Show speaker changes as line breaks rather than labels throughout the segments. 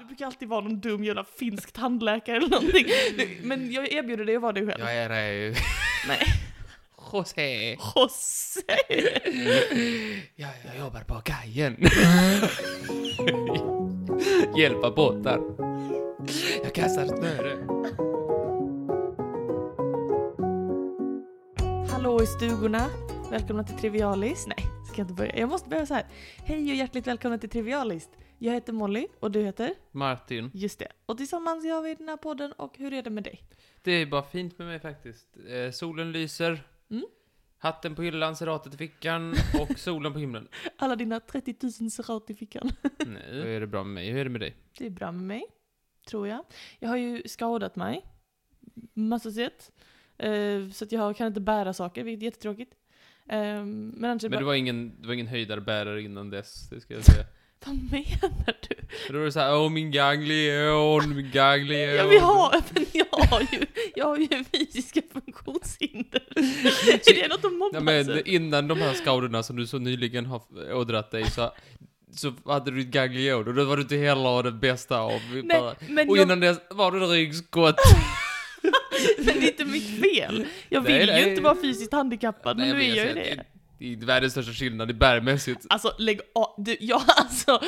brukar alltid vara någon dum jävla finsk tandläkare eller någonting. Du, Men jag erbjuder dig att vara dig själv.
Jag är eh,
Nej.
José.
Jose!
Ja, jag jobbar på kajen. Hjälpa båtar. Jag kastar snöre.
Hallå i stugorna! Välkomna till Trivialist. Nej, ska jag inte börja. Jag måste börja så här. Hej och hjärtligt välkomna till Trivialist. Jag heter Molly och du heter?
Martin.
Just det. Och tillsammans gör vi den här podden och hur är det med dig?
Det är bara fint med mig faktiskt. Eh, solen lyser.
Mm.
Hatten på hyllan, seratet i fickan och solen på himlen.
Alla dina 30 000 serat i fickan.
Nej. Hur är det bra med mig? Hur är det med dig?
Det är bra med mig, tror jag. Jag har ju skadat mig, massa sätt. Eh, så att jag kan inte bära saker, vilket är jättetråkigt. Eh, men annars är det
Men du
bara,
var ingen, du var ingen höjdarbärare innan dess, det ska jag säga.
vad menar du?
Då var det såhär, åh min ganglion, min ganglion.
Ja, vi har, men jag har ju, jag har ju fysiska funktionshinder. är det något att
Ja,
mobbas
men
över?
innan de här skadorna som du så nyligen har ådrat dig så, så hade du ett ganglion och då var du inte heller den bästa av.
Nej, men,
och
jag,
innan dess var du ryggskott.
men det är inte mitt fel. Jag
Nej,
vill
nej.
ju inte vara fysiskt handikappad, men
Nej,
nu är jag ju
säger
det.
att Det det är världens största skillnad i bärmässigt.
Alltså lägg av, du, jag alltså,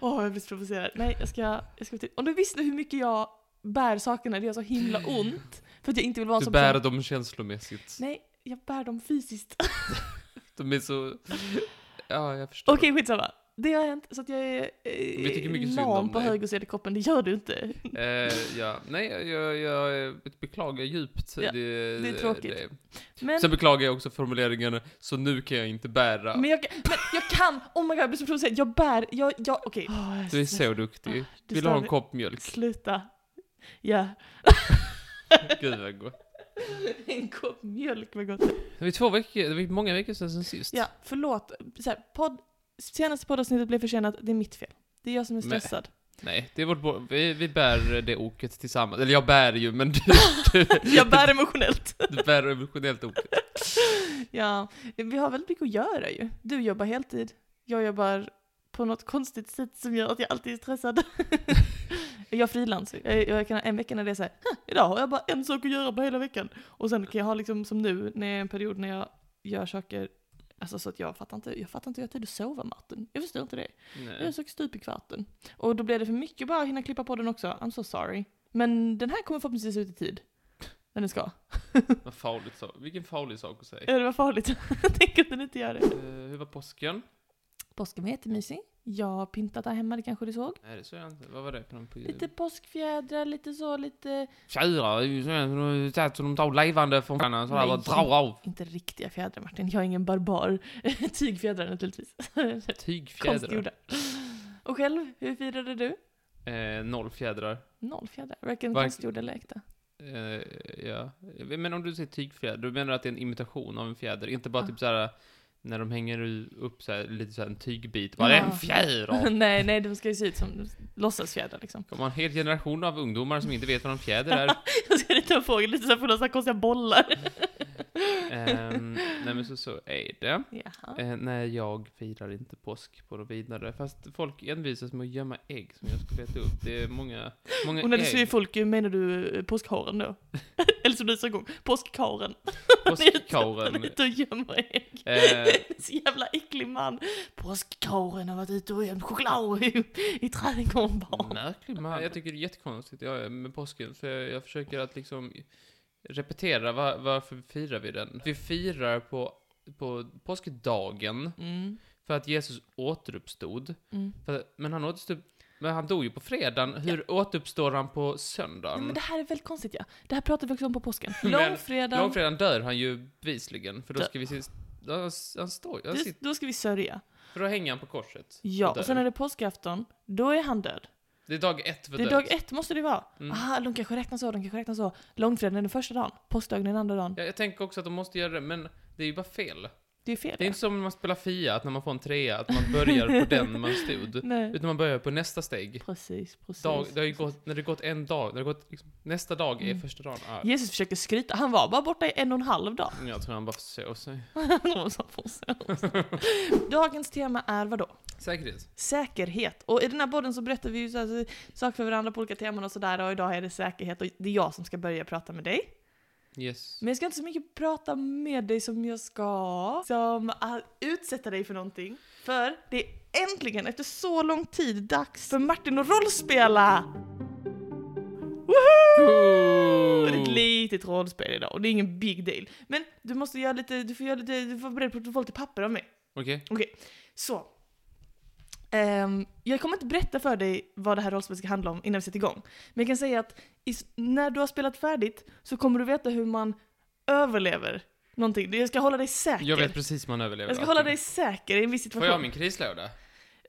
åh jag blir så provocerad. Nej jag ska, jag ska, om du visste hur mycket jag bär sakerna, det gör så himla ont. För att jag inte vill vara en
Du
sån
bär
person.
dem känslomässigt.
Nej, jag bär dem fysiskt.
De är så... Ja, jag förstår.
Okej skitsamma. Det har hänt, så att jag är eh,
Vi tycker mycket synd om
lam på
dig.
högersidekoppen, det gör du inte.
Eh, ja, nej, jag, jag, jag beklagar djupt.
Ja,
det,
det är tråkigt.
det.
Men,
Sen beklagar jag också formuleringen, så nu kan jag inte bära.
men, jag, men jag kan, oh my god jag blir så provocerad, jag bär, jag, jag, okej. Åh, jag är
Du är
stressad.
så duktig.
Du
Vill du
stör
ha en
mig.
kopp mjölk?
Sluta. Ja,
Gud vad gott.
en kopp mjölk var gott.
Det var två veckor, det var många veckor sedan sen sist.
Ja, förlåt. Så här, podd, senaste poddavsnittet blev försenat, det är mitt fel. Det är jag som är
Men-
stressad.
Nej, det är vårt, bo- vi, vi bär det oket tillsammans. Eller jag bär ju, men du,
jag bär emotionellt.
du bär emotionellt oket.
ja, vi har väldigt mycket att göra ju. Du jobbar heltid, jag jobbar på något konstigt sätt som gör att jag alltid är stressad. jag frilansar. Jag, jag kan ha en vecka när det är så här, "Huh, idag har jag bara en sak att göra på hela veckan. Och sen kan jag ha liksom som nu, när jag är en period när jag gör saker, alltså så att jag fattar inte, jag fattar inte hur jag har tid att sova Martin. Jag förstår inte det.
Nej.
Jag söker stup i kvarten. Och då blev det för mycket bara att hinna klippa på den också. I'm so sorry. Men den här kommer förhoppningsvis ut i tid. När den ska.
Vad farligt så. Vilken farlig sak att säga.
Ja, det var farligt. Tänk att den inte gör det.
Eh, hur var påsken?
Påsken var jättemysig. Jag har pyntat där hemma, det kanske du såg.
Nej, det såg jag inte. Vad var det för någon? på-
Lite påskfjädrar, lite så, lite...
Tjurar, det är ju så att de tar levande från varandra, så där
Nej.
bara drar av.
Inte riktiga fjädrar Martin, jag är ingen barbar. Tygfjädrar naturligtvis.
Tygfjädrar.
Konstgjorda. Och själv, hur firade du?
Eh, noll fjädrar.
Noll fjädrar. Varken
Varken-
konstgjorda eller äkta.
Eh, ja. Men om du säger tygfjäder, du menar att det är en imitation av en fjäder? Inte bara
Ah.
typ såhär, när de hänger u- upp såhär, lite såhär en tygbit, bara det är en
Ah.
fjäder!
nej, nej, de ska ju se ut som låtsasfjädrar liksom.
Kommer en hel generation av ungdomar som inte vet vad en fjäder är.
Jag ska rita en fågel lite så här fulla av konstiga bollar.
Ehm, nej men så, så är det.
Jaha.
Eh, nej, jag firar inte påsk på något vidare. Fast folk envisas med att gömma ägg som jag ska leta upp. Det är många, många
Och när du
ägg.
säger folk, menar du eh, påskharen då? Eller som du sa en gång, påskkaren. Han
Påskkaren.
är ute och gömmer ägg.
Eh,
Så jävla äcklig man. Påskkaren har varit ute och gömt choklad i, i trädgården bara.
Märklig man. Jag tycker det är jättekonstigt jag, med påsken, för jag, jag försöker att liksom repetera var, varför firar vi den? Vi firar på, på påskdagen
Mm,
för att Jesus återuppstod.
mm.
För, men, han återuppstod men han dog ju på fredagen. Hur återuppstår han på
Ja,
söndagen?
men det här är väldigt konstigt ja. Det här pratar vi också om på påsken.
Men-
Långfredagen,
Långfredagen dör han ju bevisligen, för då
Dö-
ska vi se... Han, han står ju- han
det,
sitter,
då ska vi sörja.
För då hänger han på korset.
Ja,
dör.
och sen är det påskafton, då är han död.
Det är dag ett för
Det är
död.
dag ett måste det vara.
Mm.
Ah, de kanske räknar så, de kanske räknar så. Långfredagen är den första dagen, påskdagen är den andra dagen.
Ja, jag tänker också att de måste göra det, men det är ju bara fel.
Det är fel.
Det är inte som när man spelar Fia, att när man får en trea, att man börjar på den man stod.
Nej.
Utan man börjar på nästa steg.
Precis, precis.
Dag, det har ju gått, när det gått en dag, när det gått, liksom, nästa dag är
Mm.
första dagen. Ah,
Jesus försökte skryta, han var bara borta i en och en halv dag.
Jag tror han bara försov sig.
Han var så på sig. Dagens tema är vadå?
Säkerhet.
Säkerhet. Och i den här podden så berättar vi ju så här, så- saker för varandra på olika teman och sådär. Och idag är det säkerhet och det är jag som ska börja prata med dig.
Yes.
Men jag ska inte så mycket prata med dig som jag ska som att utsätta dig för någonting. För det är äntligen, efter så lång tid, dags för Martin att rollspela! Woho! Det är ett litet rollspel idag och det är ingen big deal. Men du måste göra lite, du får göra lite, du får vara beredd på att du får lite papper av mig.
Okej.
Så. Ehm, jag kommer inte berätta för dig vad det här rollspelet ska handla om innan vi sätter igång. Men jag kan säga att i, s- när du har spelat färdigt så kommer du veta hur man överlever någonting. Jag ska hålla dig säker.
Jag vet precis hur man överlever.
jag ska
allting.
hålla dig säker i en viss
Får jag
situation.
min krislåda?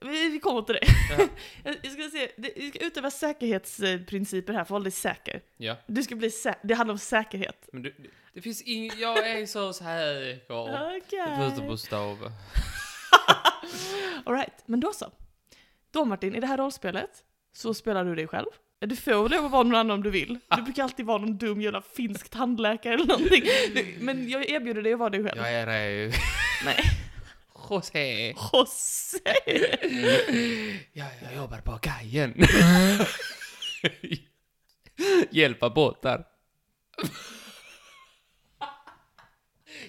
Vi, vi kommer till det.
Ja.
jag, jag ska se, det- vi ska utöva säkerhetsprinciper här för att hålla dig säker.
Ja.
Du ska bli säker. Det handlar om säkerhet.
Men du, det finns ingen... Jag är så säker.
Okej.
Förutom på stav.
All right, men då så. Då Martin, i det här rollspelet så spelar du dig själv. Du får lov att vara någon annan om du vill. Du brukar alltid vara någon dum jävla finsk tandläkare eller någonting. Du- Men jag erbjuder dig att vara dig själv.
Jag är det.
Nej.
José.
Jose!
Ja, jag jobbar på kajen.
Mm.
Hjälpa båtar.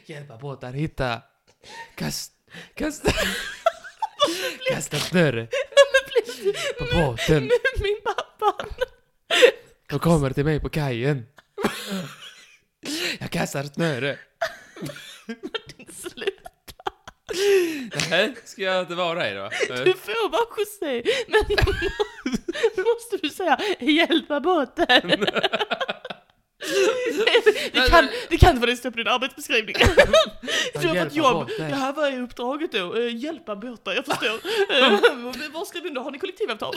Hjälpa båtar hitta... Kast... Kasta... Kasta snöre på båten.
Min pappa!
De kommer till mig på kajen. Jag kastar snöre.
Sluta,
Nej, ska jag inte vara det då?
du får vara Jose! Men då må- då måste du säga hjälpa båten! Det kan, det kan inte vara det som står på din arbetsbeskrivning. Du har fått jobb. Det här var ju uppdraget då. Eh, hjälpa båtar, jag förstår. Eh, Vad ska vi då? Har ni kollektivavtal?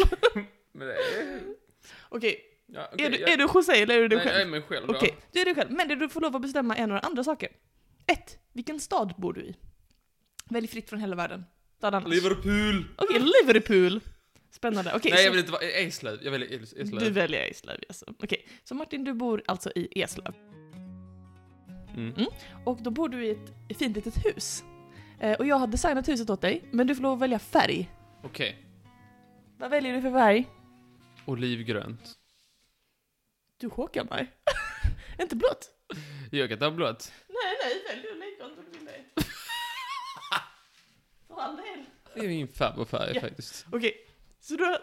Okej,
Ja,
är, du, är du José eller är du dig
Nej, jag är
själv?
mig själv
Okej, du är dig själv. Men det du får lov att bestämma är några andra saker. Ett, Vilken stad bor du i? Välj fritt från hela världen. Stad
då.
annars.
Liverpool!
Okej, Liverpool. Spännande. Okej,
Nej, jag
så-
vill inte vara... Eslöv. Jag väljer Es- Eslöv.
du väljer Eslöv. Alltså. Okej, så Martin, du bor alltså i Eslöv.
Mm.
Och då bor du i ett fint litet hus. Eh, och jag har designat huset åt dig, men du får lov att välja färg.
Okej.
Vad väljer du för färg?
Olivgrönt.
Du chockar mig. inte blått?
Jag kan ta blått.
Nej, nej, välj du likadant om du vill det. För all del.
Det är min favoritfärg
Ja.
faktiskt.
Okej, så du har...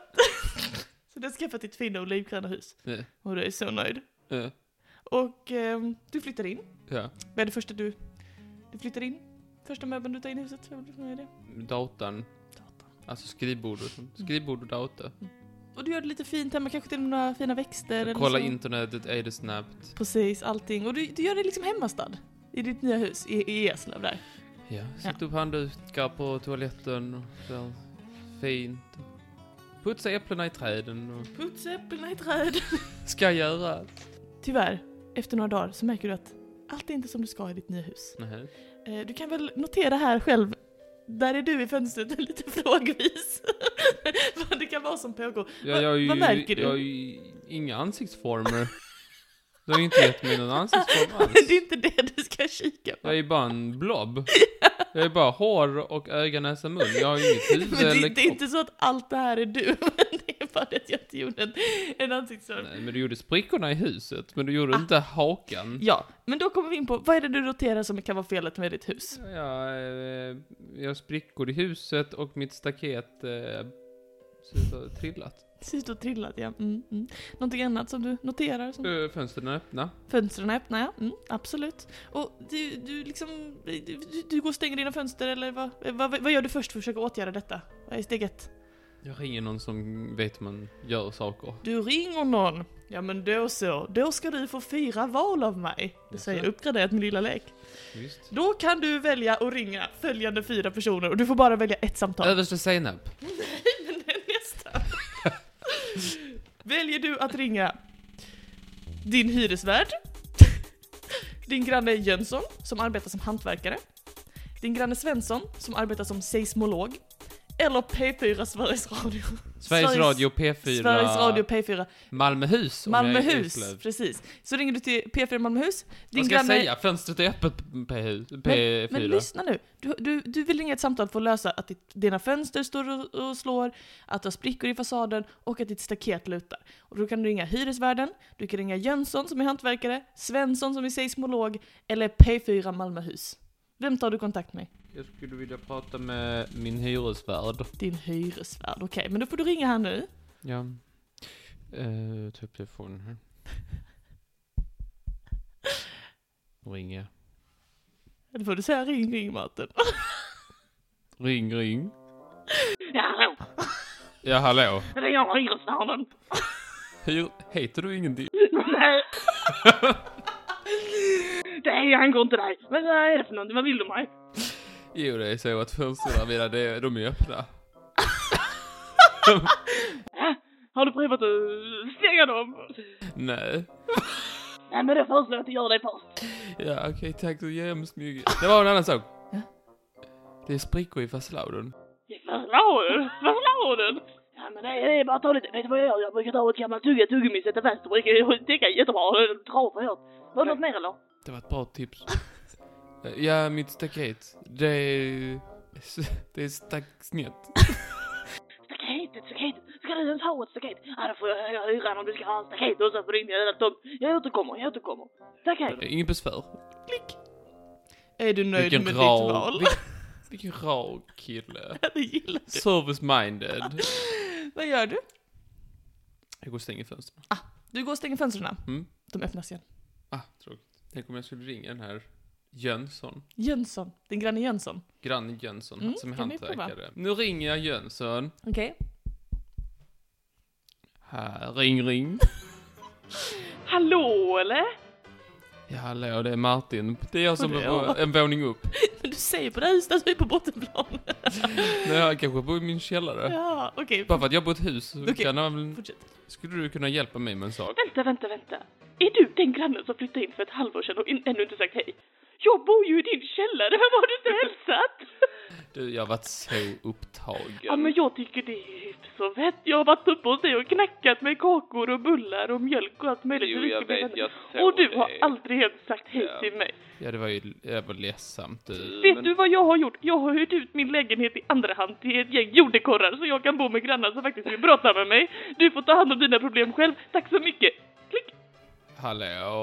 så du har skaffat ditt fina olivgröna hus.
Ja.
Och du är så nöjd.
Ja.
Och ehm, du flyttar in.
Ja.
Vad är det första du... Du flyttar in. Första möbeln du tar in i huset. Vad är det?
Datorn.
Datorn.
Alltså skrivbord och sånt. Skrivbord och dator.
Och du gör det lite fint hemma, kanske till och med några fina växter eller
Kolla
så.
internetet, är det snabbt?
Precis, allting. Och du, du gör det liksom hemmastad. I ditt nya hus, i, i Eslöv där.
Ja. Sätt upp handdukar på toaletten och så. Fint. Putsa äpplena i träden och...
Putsa äpplena i träd.
Ska göra.
Tyvärr, efter några dagar så märker du att allt är inte som det ska i ditt nya hus.
Nej.
Eh, Du kan väl notera här själv, där är du i fönstret, lite frågvis. Vad det kan vara som pågår.
Jag, jag, har ju,
Vad märker du?
Jag har ju inga ansiktsformer. Du har ju inte gett mig någon ansiktsform alls.
Men det är inte det du ska kika på.
Jag är ju bara en blob. Jag är bara hår och öga, näsa, mun. Jag har ju inget
Men
huvud eller
det, det är
kropp.
inte så att allt det här är du, men det är bara det att jag inte gjorde en, en ansiktsform.
Nej, men du gjorde sprickorna i huset, men du
Ah.
gjorde inte hakan.
Ja, men då kommer vi in på, vad är det du noterar som kan vara felet med ditt hus?
Ja, eh, jag har sprickor i huset och mitt staket eh, ser ut att ha trillat.
Ser ut att trillat, ja. Mm, mm. Någonting annat som du noterar? Som...
Ö, Eh, Fönstren är öppna.
Fönstren är öppna, ja. Mm, absolut. Och du, du liksom, du, du- du går och stänger dina fönster eller vad, vad, vad gör du först för att försöka åtgärda detta? Vad är steget?
Jag ringer någon som vet hur man gör saker.
Du ringer någon. Ja men då så, då ska du få fyra val av mig. Det
Jaså?
säger uppgraderat min lilla lek.
Visst.
Då kan du välja att ringa följande fyra personer och du får bara välja ett samtal.
Överste Seinab.
Men det är nästa. Väljer du att ringa din hyresvärd, din granne Jönsson som arbetar som hantverkare, din granne Svensson som arbetar som seismolog, eller P4 Sveriges Radio
Sveriges Radio P4,
Sveriges Radio P4.
Malmöhus. om jag är
Malmöhus,
uslöv.
precis. Så ringer du till P4 Malmöhus.
Vad ska jag säga? Fönstret är öppet P- P4.
Men lyssna nu. Du, du, du vill ringa ett samtal för att lösa att ditt, dina fönster står och, och slår, att du har sprickor i fasaden och att ditt staket lutar. Och då kan du ringa hyresvärden, du kan ringa Jönsson som är hantverkare, Svensson som är seismolog eller P4 Malmöhus. Vem tar du kontakt med?
Jag skulle vilja prata med min hyresvärd.
Din hyresvärd. Okej, men då får du ringa här nu.
Ja. Uh, ta upp telefonen här. Ringa.
Eller får du säga ring, ring, Martin.
Ring, ring.
Ja, hallå.
Ja, hallå.
Det är jag, hyresvärden.
Hyr... Heter du ingenting?
Nej. Det angår inte dig. Men vad är det för någonting? Vad vill du mig?
Jo, det är så att fönstren där, det- de är öppna.
Har du provat att stänga dem?
Nej.
Nej men då föreslår jag att du gör det först.
Ja, okej, tack så hemskt mycket. Det var en annan sak.
Ja.
Det är sprickor i fasaden.
Förslagen? Förslagen? Ja men det är, det är bara att ta lite, vet du vad jag gör? Jag brukar ta ett gammalt tugga, tuggummi, sätta fast och brukar täcka jättebra, Det drar för hårt. Har du något mer eller?
Det var ett bra tips. Eh, Ja, mitt staket. Det är... Det är stack snett.
Staketet, staketet, ska du ens ha ett staket? Ja då får jag höja hyran om du ska ha en staket och så får du in jävla tomt. Jag återkommer, jag återkommer. Tack hej.
Inget besvär.
Klick. Är du
vilken rar... Vilken, vilken rar kille.
Det gillar
Service-minded.
Vad gör du?
Jag går och stänger fönstren.
Du går och stänger fönstren.
Mm.
De öppnas igen.
Ah, tråkigt. Tänk om jag skulle ringa den här Jönsson.
Jönsson, din granne Jönsson.
Granne Jönsson,
Mm,
som är
kan vi prova?
hantverkare. Nu ringer jag Jönsson.
Okej.
Här, ring, ring.
Hallå eller?
Ja, hallå, det är Martin. Det är jag som
Hallå.
bor en våning upp.
Men du säger på det här huset att du är på bottenplan.
Nej, jag kanske bor i min källare.
Ja, okej.
Bara för att jag bor i ett hus så
Okej.
kan jag väl...
Fortsätt.
Skulle du kunna hjälpa mig med en sak?
Vänta, vänta, vänta. Är du den grannen som flyttade in för ett halvår sedan och in, ännu inte sagt hej? Jag bor ju i din källare, var har du inte hälsat?
Du, jag har varit så upptagen.
Ja, men jag tycker det är hyfsat. så vett. Jag har varit uppe hos dig och knackat med kakor och bullar och mjölk och allt möjligt.
Jo,
så vi
jag
ska bli
vet,
vänner.
jag såg
Och du har
det.
aldrig ens sagt hej
Ja.
till mig.
Ja, det var ju... Det var ledsamt. Du.
Vet
Men-
du vad jag har gjort? Jag har hyrt ut min lägenhet i andra hand till ett gäng jordekorrar så jag kan bo med grannar som faktiskt vill prata med mig. Du får ta hand om dina problem själv. Tack så mycket. Klick!
Hallå?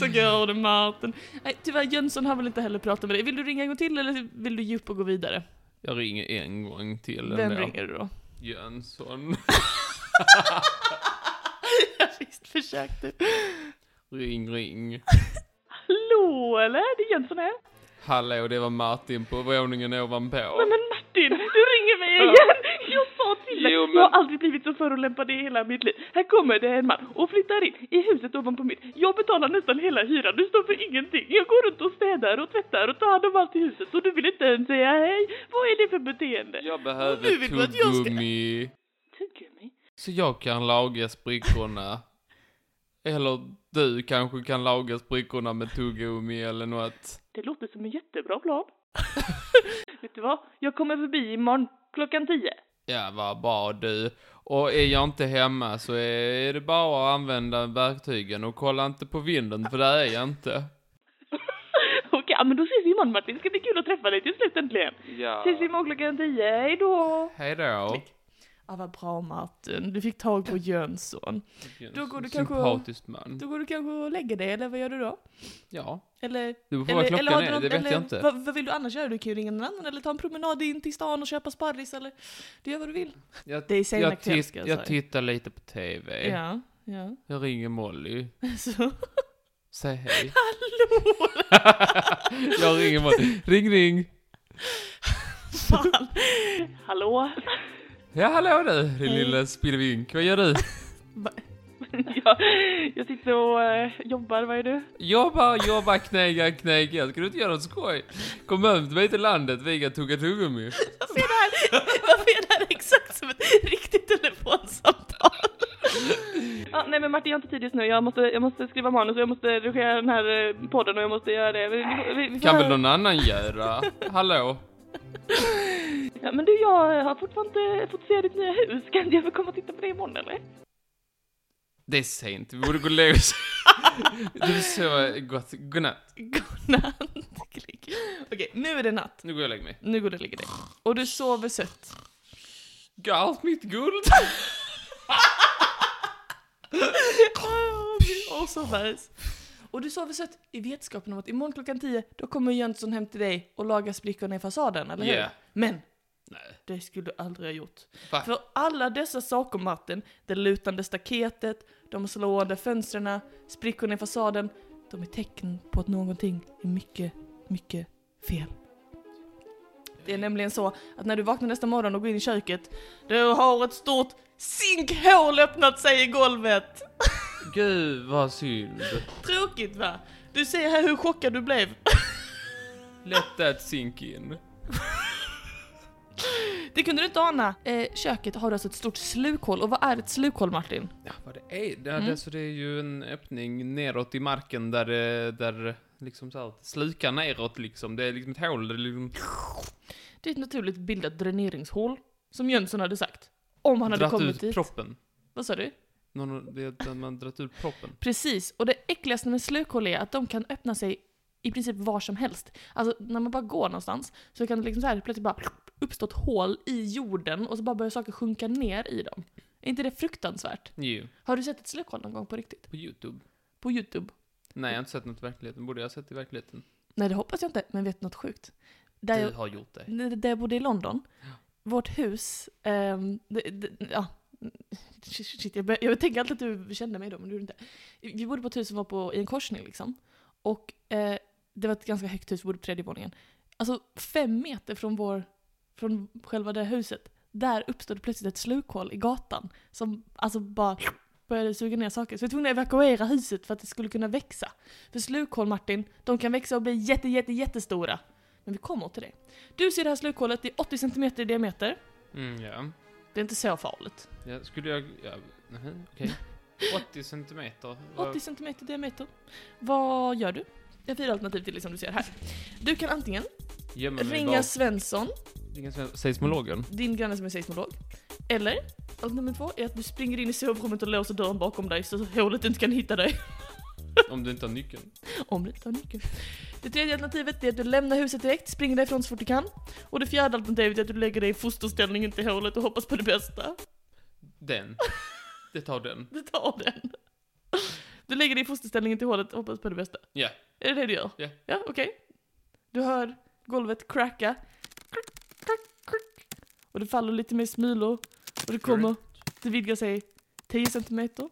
Så gör det Martin. Nej, tyvärr Jönsson har väl inte heller prata med dig. Vill du ringa en gång till eller vill du ge upp och gå vidare?
Jag ringer en gång till
Vem
ändå.
ringer du då?
Jönsson.
Jag visst försökte.
Ring, ring.
Hallå eller? Det är Jönsson här.
Hallå, det var Martin på våningen
Nej
ovanpå.
men Martin, du ringer mig igen! Jag sa till dig,
Jo, men-
jag har aldrig blivit så förolämpad i hela mitt liv. Här kommer det en man och flyttar in i huset ovanpå mitt. Jag betalar nästan hela hyran, du står för ingenting. Jag går runt och städar och tvättar och tar hand om allt i huset och du vill inte ens säga hej. Vad är det för beteende?
Jag
Och nu
behöver
vill du att jag ska-
tuggummi.
Tuggummi?
Så jag kan laga sprickorna. Eller du kanske kan laga sprickorna med tuggummi eller något.
Det låter som en jättebra plan. Vet du vad? Jag kommer förbi imorgon klockan tio.
Ja, vad bra du. Och är jag inte hemma så är det bara att använda verktygen och kolla inte på vinden för där är jag inte.
Okej, ja, men då ses vi imorgon Martin. Det ska bli kul att träffa dig till slut äntligen.
Ja.
Ses vi imorgon klockan tio, hej då!
Hej då.
Klick. Ja, Ah, vad bra Martin. Du fick tag på Jönsson. Då går du kanske-
Sympatisk man.
Då går du kanske och lägger dig, eller vad gör du då?
Ja.
Eller,
Du får
eller,
vad klockan
har
är,
du något-
det vet
eller,
jag inte.
Vad, vad vill du annars göra? Du kan ju ringa någon annan eller ta en promenad in till stan och köpa sparris eller... Du gör vad du vill.
Jag,
Det är sena
jag,
kväll,
tit-
ska jag
jag
säga.
tittar lite på TV.
Ja, ja.
Jag ringer Molly.
Så,
Säg hej.
hallå!
jag ringer Molly. Ring, ring.
Fan. Hallå?
Ja, hallå du, din
Hej.
lilla spillvink. Vad gör du?
Jag, jag sitter och eh, jobbar, vad är du?
Jobba, jobba, knäga, knäga. Ska du inte göra något skoj? Kom hem till mig till landet, vi kan tugga tuggummi.
Varför är det här, varför är det här exakt som ett riktigt telefonsamtal? Ja, nej men Martin, jag har inte tid just nu. Jag måste, jag måste skriva manus och jag måste redigera den här eh, podden och jag måste göra det. Vi, vi, vi, vi, får
Kan väl
höra-
någon annan göra? Hallå?
Ja, men du, jag har fortfarande inte fått se ditt nya hus. Kan jag få komma och titta på det imorgon eller?
Det är sent, vi borde gå och lägga oss. Du sover gott. Godnatt.
Godnatt, klick. Okej, nu är det natt.
Nu går jag och lägger mig.
Nu går du och lägger dig. Och du sover sött.
Allt mitt guld!
Och så nice. Och du sover sött i vetskapen om att imorgon klockan 10, då kommer Jönsson hem till dig och lagar sprickorna i fasaden, eller hur?
Yeah.
Men,
Nej.
det skulle du aldrig ha gjort.
Va?
För alla dessa saker, Martin, det lutande staketet, de slående fönstren, sprickorna i fasaden, de är tecken på att någonting är mycket, mycket fel. Det
Mm.
är nämligen så att när du vaknar nästa morgon och går in i köket, då har ett stort sinkhål öppnat sig i golvet!
Gud vad synd.
Tråkigt va? Du ser här hur chockad du blev.
Let that sink in.
Det kunde du inte ana. Eh, köket har alltså ett stort slukhål, och vad är ett slukhål Martin?
Ja, vad det är? Det,
Mm.
det, så det är ju en öppning neråt i marken där det, där liksom så här, slukar neråt liksom. Det är liksom ett hål där det liksom...
Det är ett naturligt bildat dräneringshål, som Jönsson hade sagt. Om han hade
dratt
kommit
ut
dit.
proppen.
Vad sa du?
Någon, det är där man dratt ut proppen.
Precis, och det äckligaste med slukhål är att de kan öppna sig i princip var som helst. Alltså när man bara går någonstans så kan det liksom så här plötsligt bara uppstå ett hål i jorden och så bara börjar saker sjunka ner i dem. Är inte det fruktansvärt?
Jo,
Har du sett ett slukhål någon gång på riktigt?
på YouTube.
På Youtube?
Nej, jag har inte sett något i verkligheten. Borde jag ha sett i verkligheten?
Nej det hoppas jag inte, men vet du något sjukt? Där jag,
Du har gjort det.
där jag bodde i London, vårt hus, ehm, det, det, ja. Shit, shit, jag, bör- jag tänker alltid att du kände mig då, men du gjorde inte. Vi bodde på ett hus som var på, i en korsning liksom. Och eh, det var ett ganska högt hus, vi bodde på tredje våningen. Alltså fem meter från, vår, från själva det huset, där uppstod plötsligt ett slukhål i gatan. Som alltså bara började suga ner saker. Så vi var tvungna att evakuera huset för att det skulle kunna växa. För slukhål Martin, de kan växa och bli jätte, jätte, jättestora. Men vi kommer till det. Du ser det här slukhålet, det är 80 cm i diameter.
Mm, ja.
Det är inte så farligt.
ja. Skulle jag... Ja, nähä, okej. 80 centimeter.
80 cm i diameter. Vad gör du? Jag har fyra alternativ till det som du ser här. Du kan antingen
Gömmer mig
ringa Svensson,
bak. Ringa Sven- seismologen.
din granne som är seismolog. Eller, alternativ nummer två är att du springer in i sovrummet och låser dörren bakom dig så hålet inte kan hitta dig.
Om du inte har nyckeln.
Om du inte har nyckeln. Det tredje alternativet är att du lämnar huset direkt, springer därifrån så fort du kan. Och det fjärde alternativet är att du lägger dig i fosterställning in till hålet och hoppas på det bästa.
Den. Det tar den.
Du tar den. Du lägger dig i fosterställningen till hålet och hoppas på det bästa.
Ja.
Är det det du gör?
Ja.
Ja, okej. Du hör golvet cracka. Och det faller lite mer smulor. Och det kommer, det vidgar sig 10 centimeter.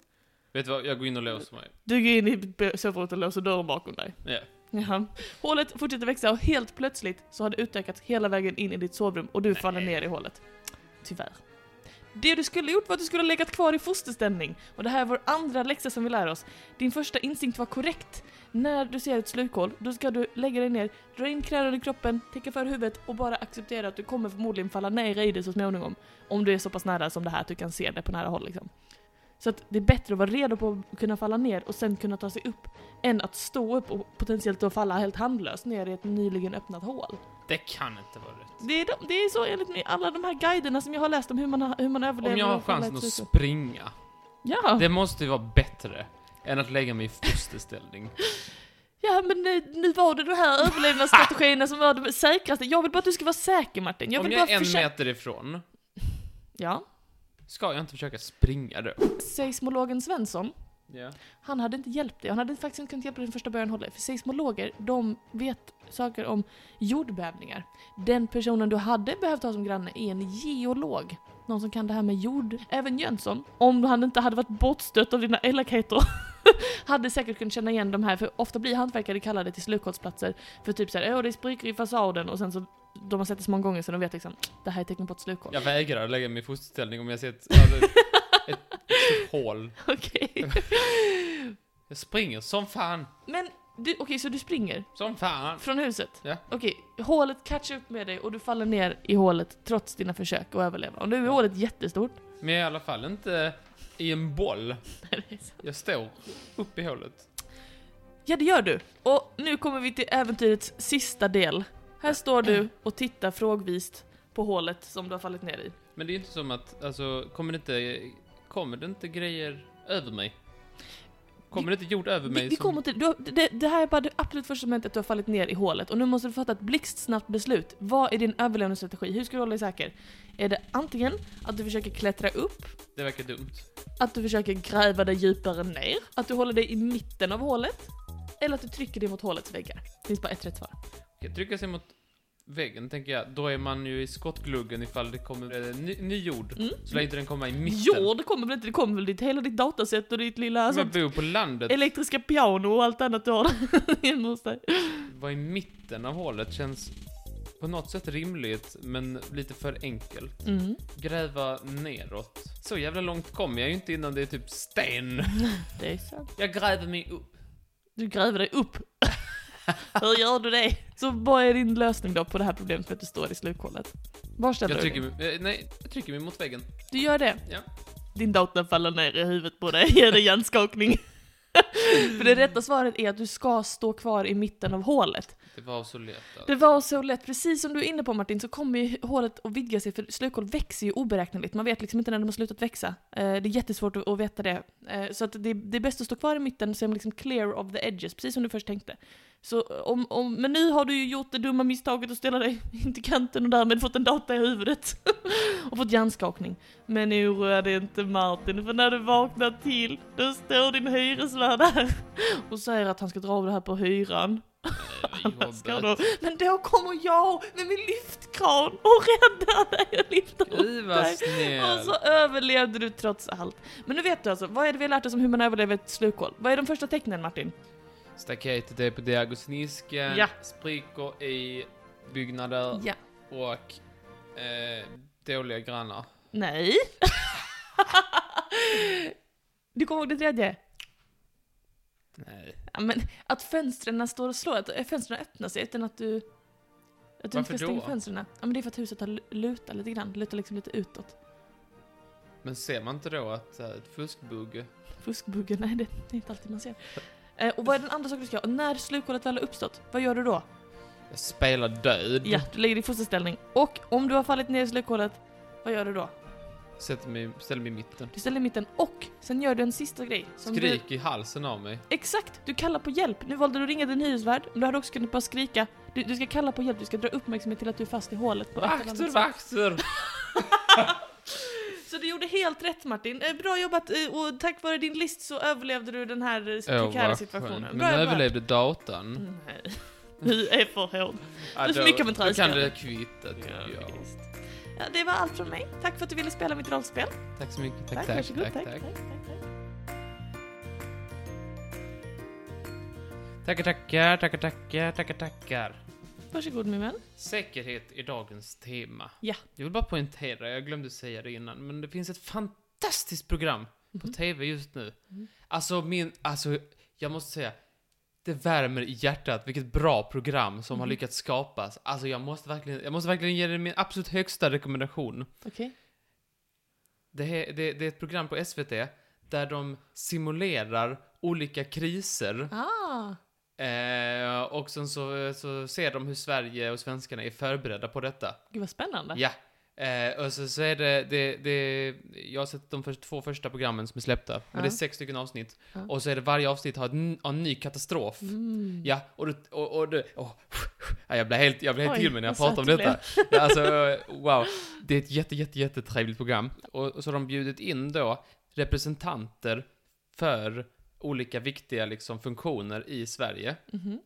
Vet du vad? Jag går in och låser mig.
Du går in i be- sovrummet och låser dörren bakom dig.
Ja.
Jaha. Hålet fortsätter växa och helt plötsligt så har det utökats hela vägen in i ditt sovrum och du
Nej.
faller ner i hålet. Tyvärr. Det du skulle gjort var att du skulle ha legat kvar i fosterställning. Och det här är vår andra läxa som vi lär oss. Din första instinkt var korrekt. När du ser ett slukhål, då ska du lägga dig ner, dra in knäna under kroppen, täcka för huvudet och bara acceptera att du kommer förmodligen falla ner i det så småningom. Om du är så pass nära som det här att du kan se det på nära håll liksom. Så att det är bättre att vara redo på att kunna falla ner och sen kunna ta sig upp än att stå upp och potentiellt då falla helt handlöst ner i ett nyligen öppnat hål.
Det kan inte vara rätt.
Det är, de, det är så enligt mig, alla de här guiderna som jag har läst om hur man, har- hur man Ah. överlever.
Om jag har
och faller
chansen
ett
att
slukhål.
springa.
Ja.
Det måste ju vara bättre än att lägga mig i fosterställning.
ja, men nu, nu var det de här överlevnadsstrategierna som var de säkraste. Jag vill bara att du ska vara säker Martin. Jag
Om
vill
jag
bara
är en
försöka...
meter ifrån,
Ja.
ska jag inte försöka springa då?
Seismologen Svensson,
Ja.
han hade inte hjälpt dig. Han hade faktiskt inte kunnat hjälpa dig från första början heller. För seismologer, de vet saker om jordbävningar. Den personen du hade behövt ha som granne är en geolog. Någon som kan det här med jord. Även Jönsson, om han inte hade varit bortstött av dina elakheter, hade säkert kunnat känna igen de här. För ofta blir hantverkare kallade till slukhållsplatser för typ såhär åh det är sprickor i fasaden och sen så de har sett det så många gånger så de vet liksom det här är tecken på ett slukhål.
Jag vägrar lägga mig i fosterställning om jag ser ett, alltså, ett, ett, ett hål.
Okej.
Jag springer som fan,
Men du, okej så du springer
som fan.
Från huset?
Ja.
Okej, hålet catchar upp med dig och du faller ner i hålet trots dina försök att överleva. Och nu är hålet jättestort.
Men jag är i alla fall inte i en boll. Jag står upp i hålet.
Ja, det gör du. Och nu kommer vi till äventyrets sista del. Här står du och tittar frågvist på hålet som du har fallit ner i.
Men det är ju inte som att, alltså, kommer det inte, kommer det inte grejer över mig? Kommer det inte jord över mig
Det, det,
som...
kommer till, du, har- det, det här är bara det absolut första momentet du har fallit ner i hålet och nu måste du fatta ett blixtsnabbt beslut. Vad är din överlevnadsstrategi? Hur ska du hålla dig säker? Är det antingen att du försöker klättra upp,
Det verkar dumt.
att du försöker gräva dig djupare ner, att du håller dig i mitten av hålet, eller att du trycker dig mot hålets väggar? Det finns bara ett rätt svar.
Okej, trycka sig mot väggen, tänker jag, då är man ju i skottgluggen ifall det kommer eh, ny, ny jord.
Mm.
Så lär inte den komma i mitten.
Jord kommer väl inte? Det kommer väl ditt, hela ditt datasätt och ditt lilla
Alltså,
alltså,
man bor på landet.
elektriska piano och allt annat du har hemma hos dig.
Vad i mitten av hålet känns på något sätt rimligt, men lite för enkelt.
Mm.
Gräva neråt. Så jävla långt kommer jag ju inte innan det är typ sten.
Det är sant.
Jag gräver mig upp.
Du gräver dig upp. Hur gör du det? Så vad är din lösning då på det här problemet med att du står i slukhålet? Var ställer
Jag
du
trycker
dig?
mig, eh, nej, jag trycker mig mot väggen.
Du gör det?
Ja.
Din dator faller ner i huvudet på dig, ger dig hjärnskakning. För det rätta svaret är att du ska stå kvar i mitten av hålet.
Det var så lätt.
Det var så lätt, precis som du är inne på Martin, så kommer ju hålet att vidga sig, för slukhål växer ju oberäkneligt. Man vet liksom inte när de har slutat växa. Eh, Det är jättesvårt att att veta det. Eh, Så att det, det är bäst att stå kvar i mitten så är man liksom clear of the edges, precis som du först tänkte. Så om, om, men nu har du ju gjort det dumma misstaget att ställa dig in till kanten och därmed fått en data i huvudet. och fått hjärnskakning. Men oroa dig inte Martin, för när du vaknar till, då står din hyresvärd där och säger att han ska dra av det här på hyran.
Robert.
Ska då. Men då kommer jag med min lyftkran och räddar dig och lyfter
Gud
upp
vad
dig.
snäll.
Och så överlevde du trots allt. Men nu vet du alltså, vad är det vi har lärt oss om hur man överlever ett slukhål? Vad är de första tecknen Martin?
Staketet är på diagosnisken,
Ja.
sprickor i byggnader
Ja.
och eh, dåliga grannar.
Nej. du kommer ihåg det tredje?
Nej.
Ja, men att fönstren står och slår, att eh, fönstren öppnar sig utan att du... Att du
Varför
inte ska stänga
då?
fönstren. Ja, men det är för att huset har lu- lutar lite grann, lutar liksom lite utåt.
Men ser man inte då att eh, ett fuskbugge...
Fuskbuggen, nej det det är inte alltid man ser. Eh, och vad är den andra saken du ska göra? Och När slukhålet väl har uppstått, vad gör du då?
Jag spelar död.
Ja, du lägger dig i fosterställning. Och om du har fallit ner i slukhålet, vad gör du då?
Sätter mig, ställer mig i mitten.
Du ställer dig i mitten och sen gör du en sista grej. som du-
Skrik i halsen av mig.
Exakt! Du kallar på hjälp. Nu valde du att ringa din hyresvärd, men du hade också kunnat bara skrika. Du, du ska kalla på hjälp, du ska dra uppmärksamhet till att du är fast i hålet. På ett eller annat
Vakter,
sätt.
vakter!
Så du gjorde helt rätt Martin. Eh, Bra jobbat eh, och tack vare din list så överlevde du den här eh,
Åh,
prekära
vad
situationen.
skönt.
Bra
Men
jobbat.
överlevde datorn.
Nej. Du är för hård.
Ja,
är för
då-
mycket av en
Då kan
träskalle.
det kvitta, tycker jag.
visst. Ja, det var allt från mig. Tack för att du ville spela mitt rollspel.
Tack så mycket.
Tack,
Tack, tack,
varsågod.
tack, tack.
tack, tack, tack.
Tackar, tackar, tackar, tackar, tackar, tackar.
Varsågod min vän.
Säkerhet är dagens tema.
Ja.
Jag vill bara poängtera, jag glömde säga det innan, men det finns ett fantastiskt program på TV just nu.
Mhm.
Alltså min, alltså jag måste säga, det värmer i hjärtat vilket bra program som har
Mhm.
lyckats skapas. Alltså jag måste verkligen, jag måste verkligen ge det min absolut högsta rekommendation.
Okej.
Det, här, det, det är ett program på SVT där de simulerar olika kriser
Ah.
eh, och sen så, så ser de hur Sverige och svenskarna är förberedda på detta.
Gud vad spännande.
Ja. Eh, och så, så är det, det, det, jag har sett de för, två första programmen som är släppta, och
Ja.
det är sex stycken avsnitt.
Ja.
Och så är det varje avsnitt har en, har en ny katastrof.
Mm.
Ja, och, det- och, och det, åh, ja, jag blir helt, jag blir helt
Oj,
till mig när jag
vad
pratar om
söt du
detta. Ja, alltså, wow. Det är ett jätte, jätte, jättetrevligt program. Och, och så har de bjudit in då representanter för olika viktiga liksom, funktioner i Sverige.
Mhm.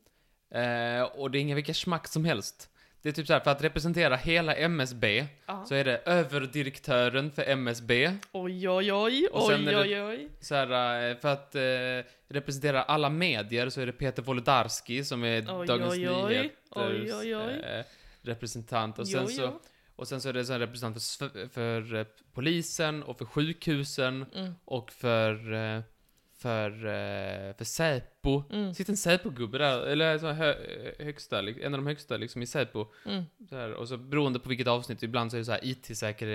Eh, och det är inga vilka schmack som helst. Det är typ så här, för att representera hela MSB
Ja.
så är det överdirektören för MSB.
Oj, oj, oj.
Och sen
Oj,
är det-
oj, oj.
Så här, eh, för att eh, representera alla medier så är det Peter Wolodarski som är
Oj,
Dagens
oj, oj.
Nyheters
Oj, oj, oj.
Eh, representant. Och sen,
Jo,
så,
jo.
och sen så är det så här representant för, sv- för eh, polisen och för sjukhusen
Mm.
och för, eh, för, eh, för Säpo.
Mm.
Sitter en Säpo-gubbe där, eller så här hö, högsta, li- en av de högsta liksom i Säpo.
Mm.
Så här, och så beroende på vilket avsnitt, ibland så är det så här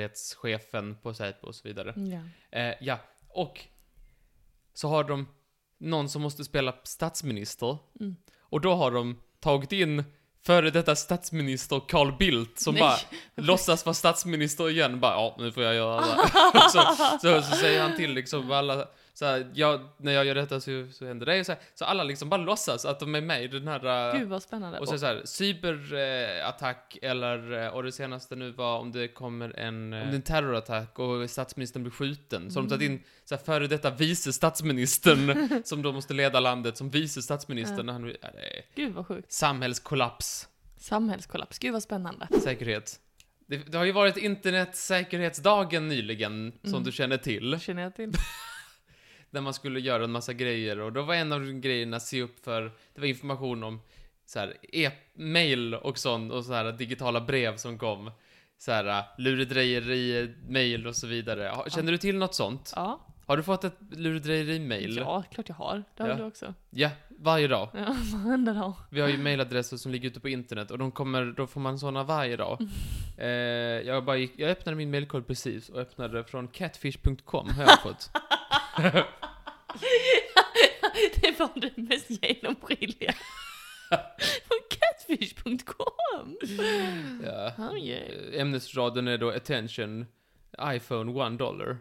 IT-säkerhetschefen på Säpo och så vidare.
Ja.
Eh, ja, och så har de någon som måste spela statsminister.
Mm.
Och då har de tagit in före detta statsminister Carl Bildt som
Nej.
bara låtsas vara statsminister igen. Bara, ja, nu får jag göra det. så, så, så säger han till liksom alla, så här, ja, när jag gör detta så, så händer det. Så, här, så alla liksom bara låtsas att de är med i den här... eh,
Gud vad spännande.
och sen så här, cyberattack eller, eh, och det senaste nu var om det kommer en, eh, om det är en Mm. terrorattack och statsministern blir skjuten. Så har de tagit in så här, före detta vice statsministern som då måste leda landet som vice statsminister
Ja.
när han, ja, det är
Gud vad sjukt.
samhällskollaps,
Samhällskollaps. Gud vad spännande.
säkerhet. Det, det har ju varit internetsäkerhetsdagen nyligen, som
Mm.
du känner till,
Känner jag till.
där man skulle göra en massa grejer och då var en av grejerna att se upp för, det var information om så här, e-mail och sånt och så här digitala brev som kom. Så här, äh, lurendrejeri, mail och så vidare. Har- Känner du till något sånt?
Ja.
Har du fått ett lurendrejeri-mail?
Ja, klart jag har. Det har
Ja.
du också.
Ja, varje dag.
Ja, varenda dag.
Vi har ju mailadresser som ligger ute på internet och de kommer, då får man såna varje dag. Eh, jag, bara gick, jag öppnade min mailkorg precis och öppnade från catfish.com har jag fått.
det var det mest genomskinliga. På catfish.com.
Ja.
Oh, yeah.
Eh, Ämnesraden är då attention, iPhone one dollar.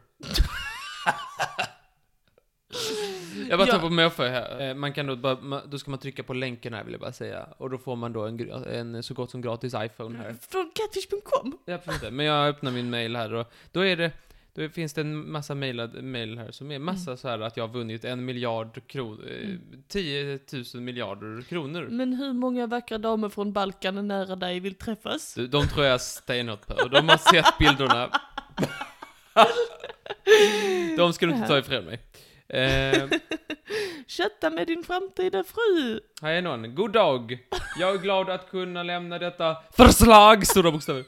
Jag bara tar
Ja.
på måfå här. Eh, Man kan då, bara, ma- då ska man trycka på länken här vill jag bara säga. Och då får man då en, gr- en så gott som gratis iPhone här.
Från catfish.com?
Jag förstår inte, men jag öppnar min mail här och då är det då finns det en massa mailad, mail här som är massa så här att jag har vunnit en miljard kronor,
Mm.
10 000 miljarder kronor.
Men hur många vackra damer från Balkan nära dig vill träffas?
De, de tror jag stenhårt på, de har sett bilderna. De ska du inte ta ifrån mig. Eh,
Chatta med din framtida fru.
här är någon. God dag! Jag är glad att kunna lämna detta förslag, stora bokstäver,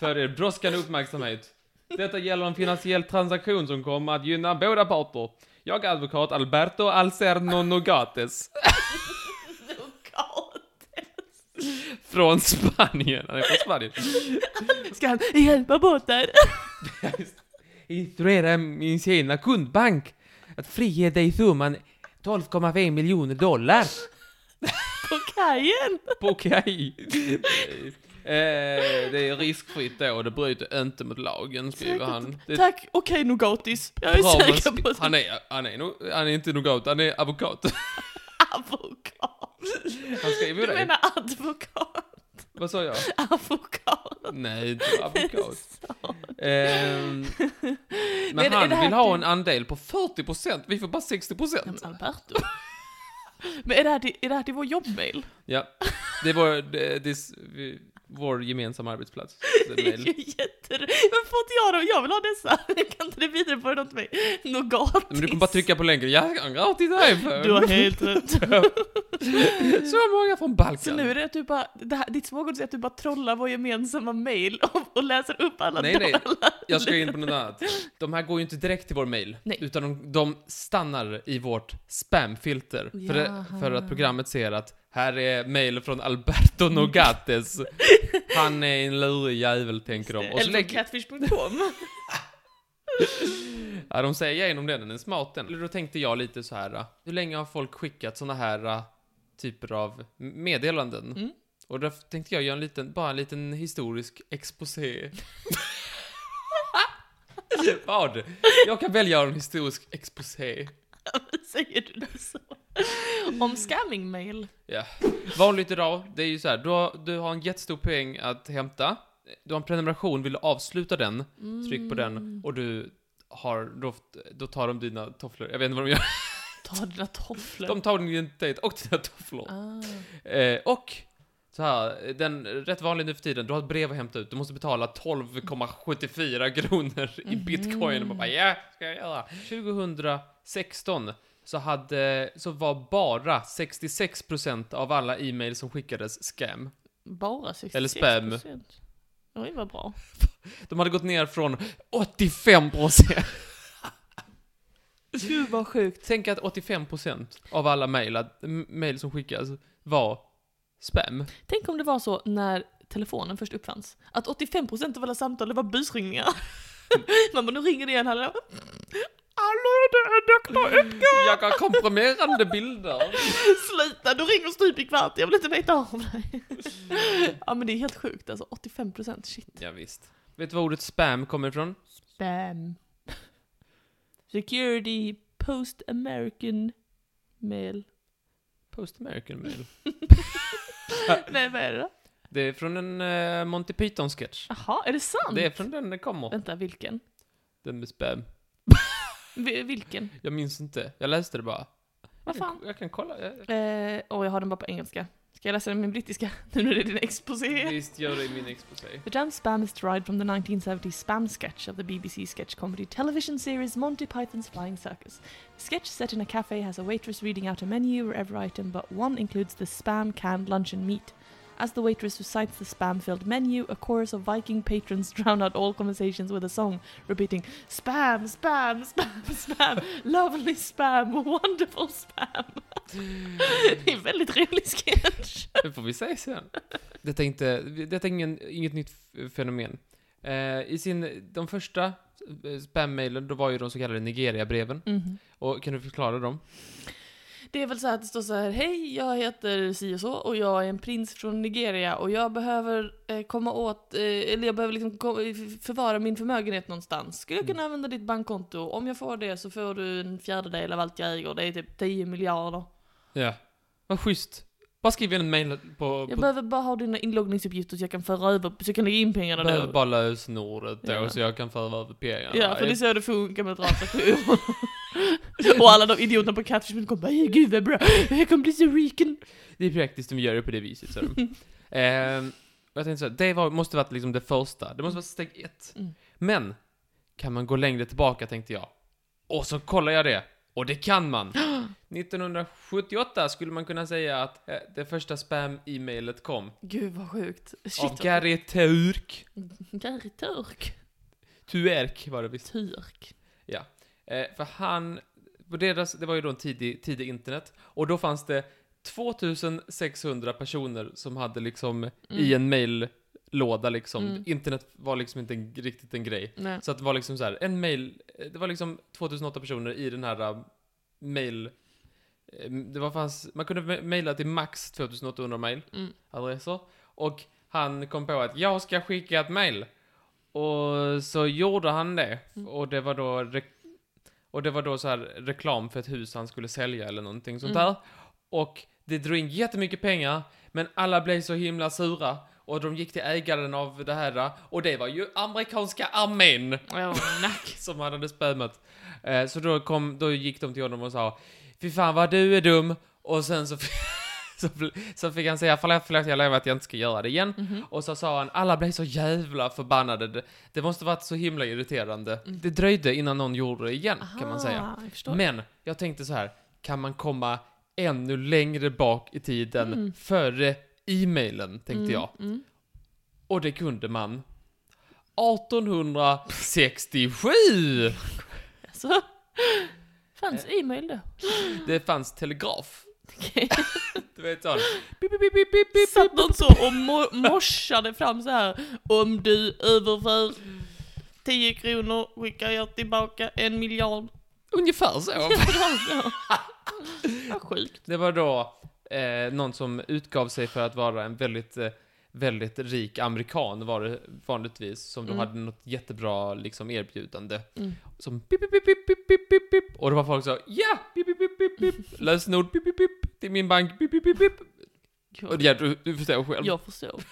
för er brådskande uppmärksamhet. Detta gäller en finansiell transaktion som kommer att gynna båda parter. Jag är advokat Alberto Alcerno Nogates Oh, från Spanien. Han är från Spanien.
Ska han hjälpa båtar?
Instruera min sena kundbank att frige dig summan 12,5 miljoner dollar.
På kajen?
på kaj. Eh, det är riskfritt då och det bryter inte mot lagen, skriver han. Det är
Tack, okej Nogatis. Jag är
bra, men
säker på
sk-
att
han är, han är, nog, han är inte nogat, han är advokat.
advokat.
Han skriver
Du
ju det.
menar advokat?
Vad sa jag?
Advokat.
Nej, inte advokat.
Så.
Ehm, men,
Men är
han
det här
vill ha
din-
en andel på 40%, vi får bara
Ja,
60%.
men Alberto. Men är det här till, är det här till vår jobbmail?
Ja, det var det, det, vi- vår gemensamma arbetsplats.
Det är ju jätter... Men får inte jag dem? Jag vill ha dessa! Kan inte det vidarebefordra till mig? Något gratis?
Men du kommer bara trycka på länken, ja, gratis iPhone.
Du har helt rätt.
Så många från Balkan.
Så nu är det att du bara, det här, ditt smågodis är att du bara trollar vår gemensamma mail och, och läser upp alla
Nej, nej.
dollar.
Jag ska in på något annat. De här går ju inte direkt till vår mail,
Nej.
utan de, de stannar i vårt spamfilter. För, det,
Jaha.
för att programmet ser att här är mail från Alberto Nogates. Han är en lurig jävel, tänker de. Och så
Eller på
lägger,
catfish.com.
ja, de säger igenom den, den är smart den. Eller Då tänkte jag lite så här, hur länge har folk skickat såna här äh, typer av meddelanden?
Mm.
Och då tänkte jag göra en liten, bara en liten historisk exposé. Vad? Jag kan välja att göra en historisk exposé.
Säger du det så?
Mm.
Om scamming mail.
Vanligt idag, det är ju så här, du har, du har en jättestor poäng att hämta. Du har en prenumeration, vill du avsluta den,
Mm.
tryck på den och du har, då, då tar de dina tofflor. Jag vet inte vad de gör.
Ta dina tofflor.
De tar din identitet och dina tofflor.
Ah.
Eh, och så här, den rätt vanlig nu för tiden, du har ett brev att hämta ut, du måste betala 12,74 kronor i bitcoin. Och man bara, ja, ska jag göra. 2016 så, hade, så var bara 66% av alla e-mail som skickades scam.
Bara 66%.
Eller spam.
Oj, vad bra.
De hade gått ner från 85%.
Gud vad sjukt.
Tänk att 85% av alla mail, att- m- mail som skickas var spam.
Tänk om det var så när telefonen först uppfanns. Att 85% av alla samtal det var busringningar. Man bara, nu ringer det igen, hallå? Hallå, det är
Jag har komprimerande bilder.
Sluta, du ringer stup i kvart, jag vill inte veta av dig. ja men det är helt sjukt alltså, 85% shit.
Ja, visst. Vet du var ordet spam kommer ifrån?
Spam. Security Post American Mail.
Post American Mail.
Nej vad är det då?
Det är från en eh, Monty Python-sketch.
Jaha, är det Ah, sant?
Det är från den det kommer.
Vänta, vilken?
Den med spam.
Vi- vilken?
Jag minns inte. Jag läste det bara.
Vad fan?
Jag kan kolla. Jag-
Eh, åh, jag har den bara på engelska. Ska jag läsa den med brittiska? Nu när det är din exposé.
Visst gör det i min exposé.
The term spam is derived from the 1970s spam sketch of the BBC sketch comedy television series Monty Python's Flying Circus. The sketch set in a cafe has a waitress reading out a menu where every item but one includes the spam, canned lunch, and meat. As the waitress recites the spam filled menu, a chorus of Viking patrons drown out all conversations with a song repeating Spam, spam, spam, spam, lovely spam, wonderful spam. Det är en väldigt rolig sketch.
Det får vi se sen. Detta är, inte, detta är ingen, inget nytt f- fenomen. Eh, I sin, de första eh, spammailen, då var ju de så kallade Nigeria-breven. Och kan du förklara dem?
Det är väl så här att det står så här, hej jag heter si och så och jag är en prins från Nigeria och jag behöver eh, komma åt, eh, eller jag behöver liksom ko- f- förvara min förmögenhet någonstans. Skulle jag
Mm.
kunna använda ditt bankkonto? Om jag får det så får du en fjärdedel av allt jag äger, det är typ 10 miljarder.
Ja. Vad schysst. Bara skriv en mail på...
Jag
på
behöver bara ha dina inloggningsuppgifter så jag kan föra över, så jag kan lägga in pengarna
behöver
där.
bara lösenordet då,
Ja.
så jag kan föra över pengarna.
Ja, för det är så det funkar med transaktioner. och alla de idioterna på Catfish.com bara, "Hey, gud vad bra, jag kommer bli så riken.
Det är praktiskt, de gör det på det viset, så de. eh, och jag tänkte så här, det var, måste varit liksom det första. Det måste vara steg ett.
Mm.
Men, kan man gå längre tillbaka, tänkte jag. Och så kollar jag det. Och det kan man! 1978 skulle man kunna säga att eh, det första spam-e-mailet kom.
Gud vad sjukt.
av
Shit,
Gary Turk.
Gary Turk.
Tuerk var det visst.
Turk.
Eh, för han, på deras, det var ju då en tidig, tidig internet. Och då fanns det 2600 personer som hade liksom i en maillåda liksom.
Mm.
Internet var liksom inte en, riktigt en grej.
Nej.
Så att det var liksom så här, en mail, det var liksom 2008 personer i den här äh, mail, eh, det var fanns, man kunde ma- maila till max 2800
Mm.
mailadresser. Och han kom på att jag ska skicka ett mail. Och så gjorde han det.
Mm.
Och det var då, re- och det var då så här reklam för ett hus han skulle sälja eller någonting sånt
Mm.
där. Och det drog in jättemycket pengar, men alla blev så himla sura. Och de gick till ägaren av det här, och det var ju amerikanska armén
Åh, nack.
som han hade spammat. Eh, så då, kom, då gick de till honom och sa Fy fan vad du är dum! Och sen så, så, bl- så fick han säga förlåt, förlåt, jag lovar att jag inte ska göra det igen.
Mhm.
Och så sa han alla blev så jävla förbannade. Det, det måste varit så himla irriterande. Det dröjde innan någon gjorde det igen, kan man säga.
Mm. Aha, Jag förstår.
Men jag tänkte så här, kan man komma ännu längre bak i tiden före e-mailen, tänkte jag.
Mm.
Och det kunde man. 1867!
Alltså, Eh. fanns e-mail då?
Det fanns telegraf.
Okej.
Du vet sån.
Pip, pip, pip, pip, pip. Satt någon så och mo- morsade fram så här. Om du överför 10 kronor skickar jag tillbaka en miljard.
Ungefär så.
Vad sjukt.
Det var då eh, någon som utgav sig för att vara en väldigt, eh, väldigt rik amerikan var det vanligtvis, som då
Mm.
hade något jättebra liksom, erbjudande.
Mm.
Som pip, pip, pip, pip, pip, pip, pip, pip. Och det var folk som sa ja, pip, pip, pip, pip, pip, lösenord, pip, pip, pip, till min bank, pip, pip, pip, pip. Och ja, du, du förstår själv.
Jag förstår.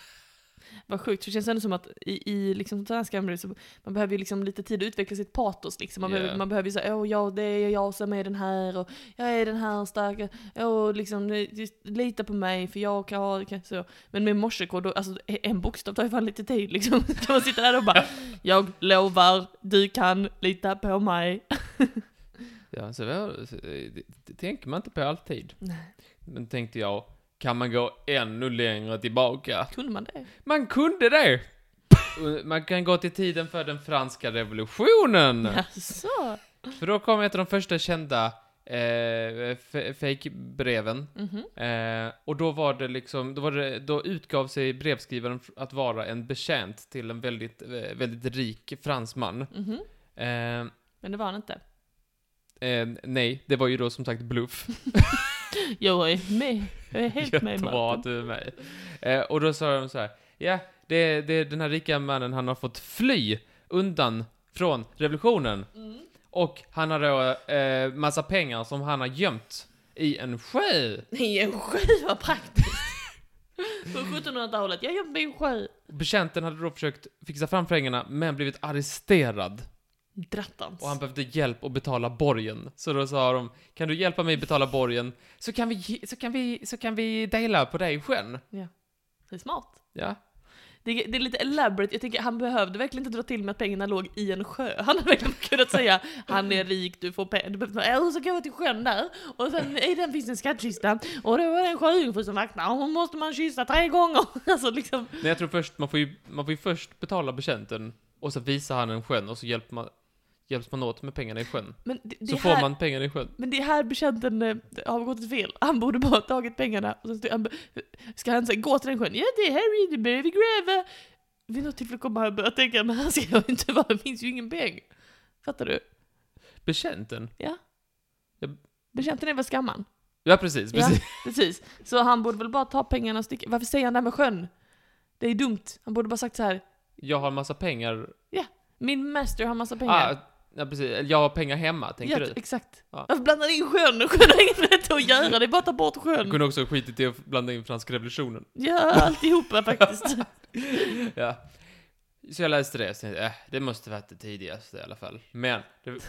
Vad sjukt, för det känns ändå som att i, i liksom sådana här skammer så man behöver ju liksom lite tid att utveckla sitt patos liksom. Man,
Ja.
behöver, man behöver ju säga åh ja, det är jag som är den här och jag är den här starka, åh liksom eh, just, lita på mig för jag kan ha, kan, så. Men med morsekod, då- alltså en bokstav tar ju fan lite tid liksom. Kan man sitta där och bara jag lovar, du kan lita på mig.
Ja, så, var- så, eh, det, det tänker man inte på alltid.
Nej.
Men tänkte jag, kan man gå ännu längre tillbaka?
Kunde man det?
Man kunde det! Och Man kan gå till tiden för den franska revolutionen.
Jaså?
För då kom ett av de första kända eh, f- fake-breven.
Mhm.
Eh, och då var det liksom, då, var det, då utgav sig brevskrivaren f- att vara en betjänt till en väldigt, eh, väldigt rik fransman.
Mhm.
Eh,
Men det var han inte.
Eh, nej, det var ju då som sagt bluff.
Jag är med. Jag är helt med i
Jag tar
matten.
du mig. Eh, och då sa de så här, ja, det, det, den här rika mannen, han har fått fly undan från revolutionen.
Mm.
Och han har då eh, massa pengar som han har gömt i en sjö.
I en sjö, vad praktiskt. På 1700-talet, jag jobbade i en sjö.
Betjänten hade då försökt fixa fram pengarna, men blivit arresterad.
Drattans.
Och han behövde hjälp att betala borgen. Så då sa de, kan du hjälpa mig betala borgen? Så kan vi, ge- så kan vi, så kan vi dela på dig sjön.
Det är smart.
Ja.
Det är, det är lite elaborate, jag tänker han behövde verkligen inte dra till med att pengarna låg i en sjö. Han hade verkligen kunnat säga han är rik, du får pengar, du behöver inte- eller så går jag till sjön där och sen i den finns en skattkista och då var det en sjöjungfru som vaknade och hon måste man kyssa tre gånger. Alltså liksom,
Nej, jag tror först, man får ju, man får ju först betala betjänten och så visar han en sjön och så hjälper man, hjälps man åt med pengarna i sjön.
men det, det
Så
är
får
här,
man pengarna i sjön.
Men det är här betjänten eh, har gått ett fel. Han borde bara ha tagit pengarna och sen stod, han, be- ska han säga gå till den sjön? Ja det är Harry, det behöver vi gräva. Vid något tillfälle kommer han börja tänka, men han ska ju inte vara, det finns ju ingen peng. Fattar du?
Betjänten?
Betjänten är väl skamman?
Ja, precis,
Ja,
precis.
precis. Så han borde väl bara ta pengarna och sticka. Varför säger han det här med sjön? Det är dumt. Han borde bara sagt så här.
Jag har en massa pengar.
Min master har massa pengar.
Ah, ja, precis. Eller Jag har pengar hemma, tänker
ja,
du.
exakt.
Ja.
Varför blandar han in sjön? Sjön har inget med detta att göra, det är bara att ta bort
Jag
sjön.
kunde också ha skitit i att blanda in franska revolutionen.
Ja, alltihopa faktiskt.
Ja. Så jag läste det och tänkte, eh, det måste varit det tidigaste i alla fall. Men, det,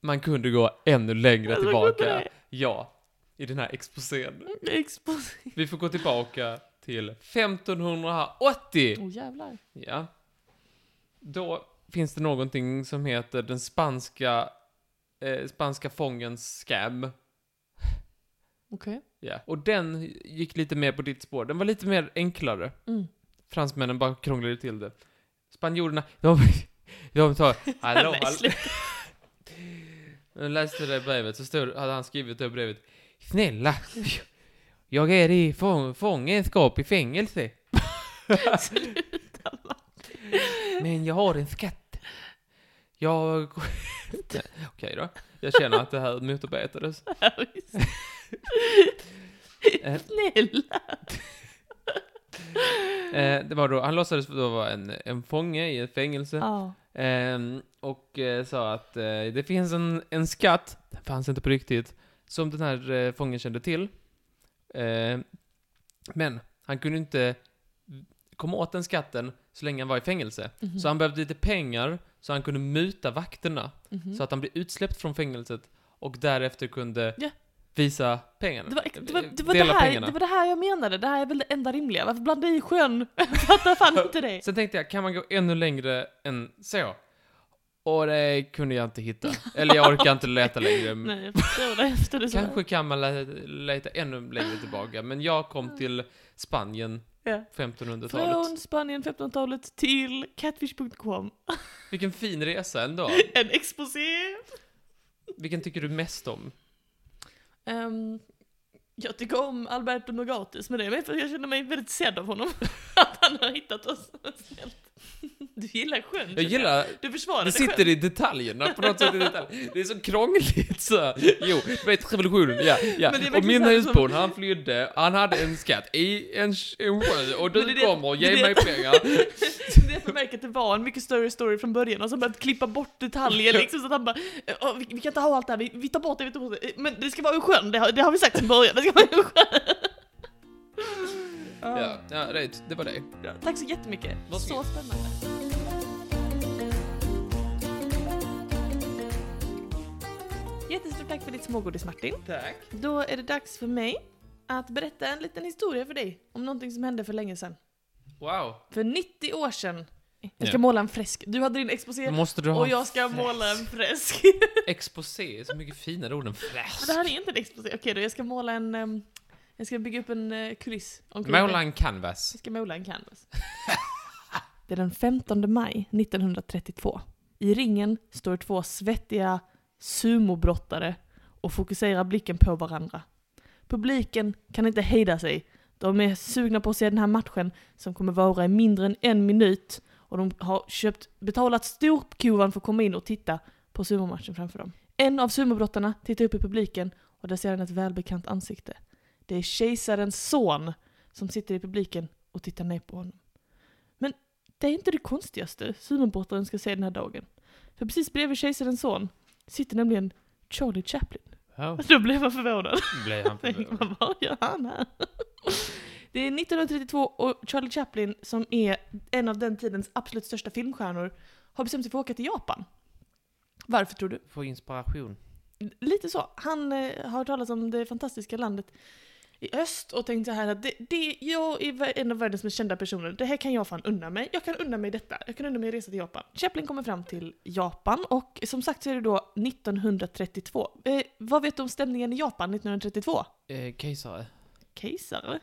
man kunde gå ännu längre
Alltså, kunde
tillbaka. Ja, i den här exposén.
det- Expos...
Vi får gå tillbaka till 1580.
Åh jävlar.
Ja. Då finns det någonting som heter den spanska, eh, spanska fångens scam.
Okej.
Ja. Och den gick lite mer på ditt spår. Den var lite mer enklare.
Mm.
Fransmännen bara krånglade till det. Spanjorerna, de, de sa hallå,
Nej,
hallå.
sluta.
När jag läste det där brevet så stod, hade han skrivit det brevet. Snälla, jag är i fång, fångenskap i fängelse. Men jag har en skatt. Jag... Nej, Okej då. Jag känner att det här motarbetades. Eh.
Snälla.
Eh, det var då, han låtsades då vara en, en fånge i ett fängelse.
Ja.
Ehm, och eh, sa att eh, det finns en, en skatt, den fanns inte på riktigt, som den här eh, fången kände till. Ehm, men han kunde inte komma åt den skatten så länge han var i fängelse.
Mhm.
Så han behövde lite pengar så han kunde muta vakterna
Mhm.
så att han blev utsläppt från fängelset och därefter kunde
Ja.
visa pengarna.
Det var, det, var, det, var
Dela
det, här,
pengarna.
det var det här jag menade, det här är väl det enda rimliga. Varför blanda i sjön? Jag fattar fan inte det.
Sen tänkte jag, kan man gå ännu längre än så? Och det kunde jag inte hitta. Eller jag orkar inte leta längre.
Nej, jag förstår det efter det så.
Kanske kan man le- leta ännu längre tillbaka, men jag kom till Spanien
Ja.
1500-talet.
Från Spanien 1500-talet till catfish.com.
Vilken fin resa ändå.
En exposé!
Vilken tycker du mest om?
Ehm, jag tycker om Alberto Nogatis, men det är mer för att jag känner mig väldigt sedd av honom. Att han har hittat oss. Snällt. Du gillar sjön.
Jag
känner
gillar
Du försvarade
Det sitter i detaljerna på något sätt. i detalj. Det är så krångligt så. här. Jo, du vet revolutionen, ja. ja.
Men det är
Och
verkligen
min
så här liksom- som-
husbond, han flydde, han hade en skatt i en, en sjö och
Men det
du
är det-
kommer och
det
ge
är
mig
det-
pengar.
Det är för märker att det var en mycket större story från början och sen börjat klippa bort detaljer liksom så att han bara "Åh, vi, vi kan inte ha allt det här, vi, vi tar bort det, vi tar bort det. Men det ska vara ur sjön, det har, det har vi sagt från början, det ska vara ur sjön.
Ja, ja det, det var det.
Ja, Tack så jättemycket,
Varsågod.
så spännande. Jättestort tack för ditt smågodis Martin.
Tack.
Då är det dags för mig att berätta en liten historia för dig om någonting som hände för länge sedan.
Wow.
För 90 år sedan. Jag ska
Ja.
måla en fresk. Du hade din exposé.
Måste du ha
Och jag ska
fräs?
måla en fresk.
Exposé är så mycket finare ord än
Men
fräs.
det här är inte en exposé. Okej då, jag ska måla en... ehm, jag ska bygga upp en uh, kuliss. omkring mig.
Måla en canvas.
Jag ska måla en canvas. det är den 15 maj 1932. I ringen står två svettiga sumobrottare och fokuserar blicken på varandra. Publiken kan inte hejda sig. De är sugna på att se den här matchen som kommer vara i mindre än en minut och de har köpt, betalat storkovan för att komma in och titta på sumomatchen framför dem. En av sumobrottarna tittar upp i publiken och där ser han ett välbekant ansikte. Det är kejsarens son som sitter i publiken och tittar ner på honom. Men det är inte det konstigaste sumobrottaren ska se den här dagen. För precis bredvid kejsarens son sitter nämligen Charlie Chaplin.
Ja,
Då blev man förvånad.
blev han
Tänkte
förvirrad.
man, vad gör han här? Det är 1932 och Charlie Chaplin, som är en av den tidens absolut största filmstjärnor, har bestämt sig för att åka till Japan. Varför tror du?
Få inspiration.
Lite så. Han eh, har talat om det fantastiska landet i öst och tänkt så här att det, det, jag är vä- en av världens mest kända personer, det här kan jag fan unna mig. Jag kan unna mig detta. Jag kan unna mig att resa till Japan. Chaplin kommer fram till Japan och som sagt så är det då 1932. Eh, vad vet du om stämningen i Japan 1932?
Eh, kejsare.
Kejsare?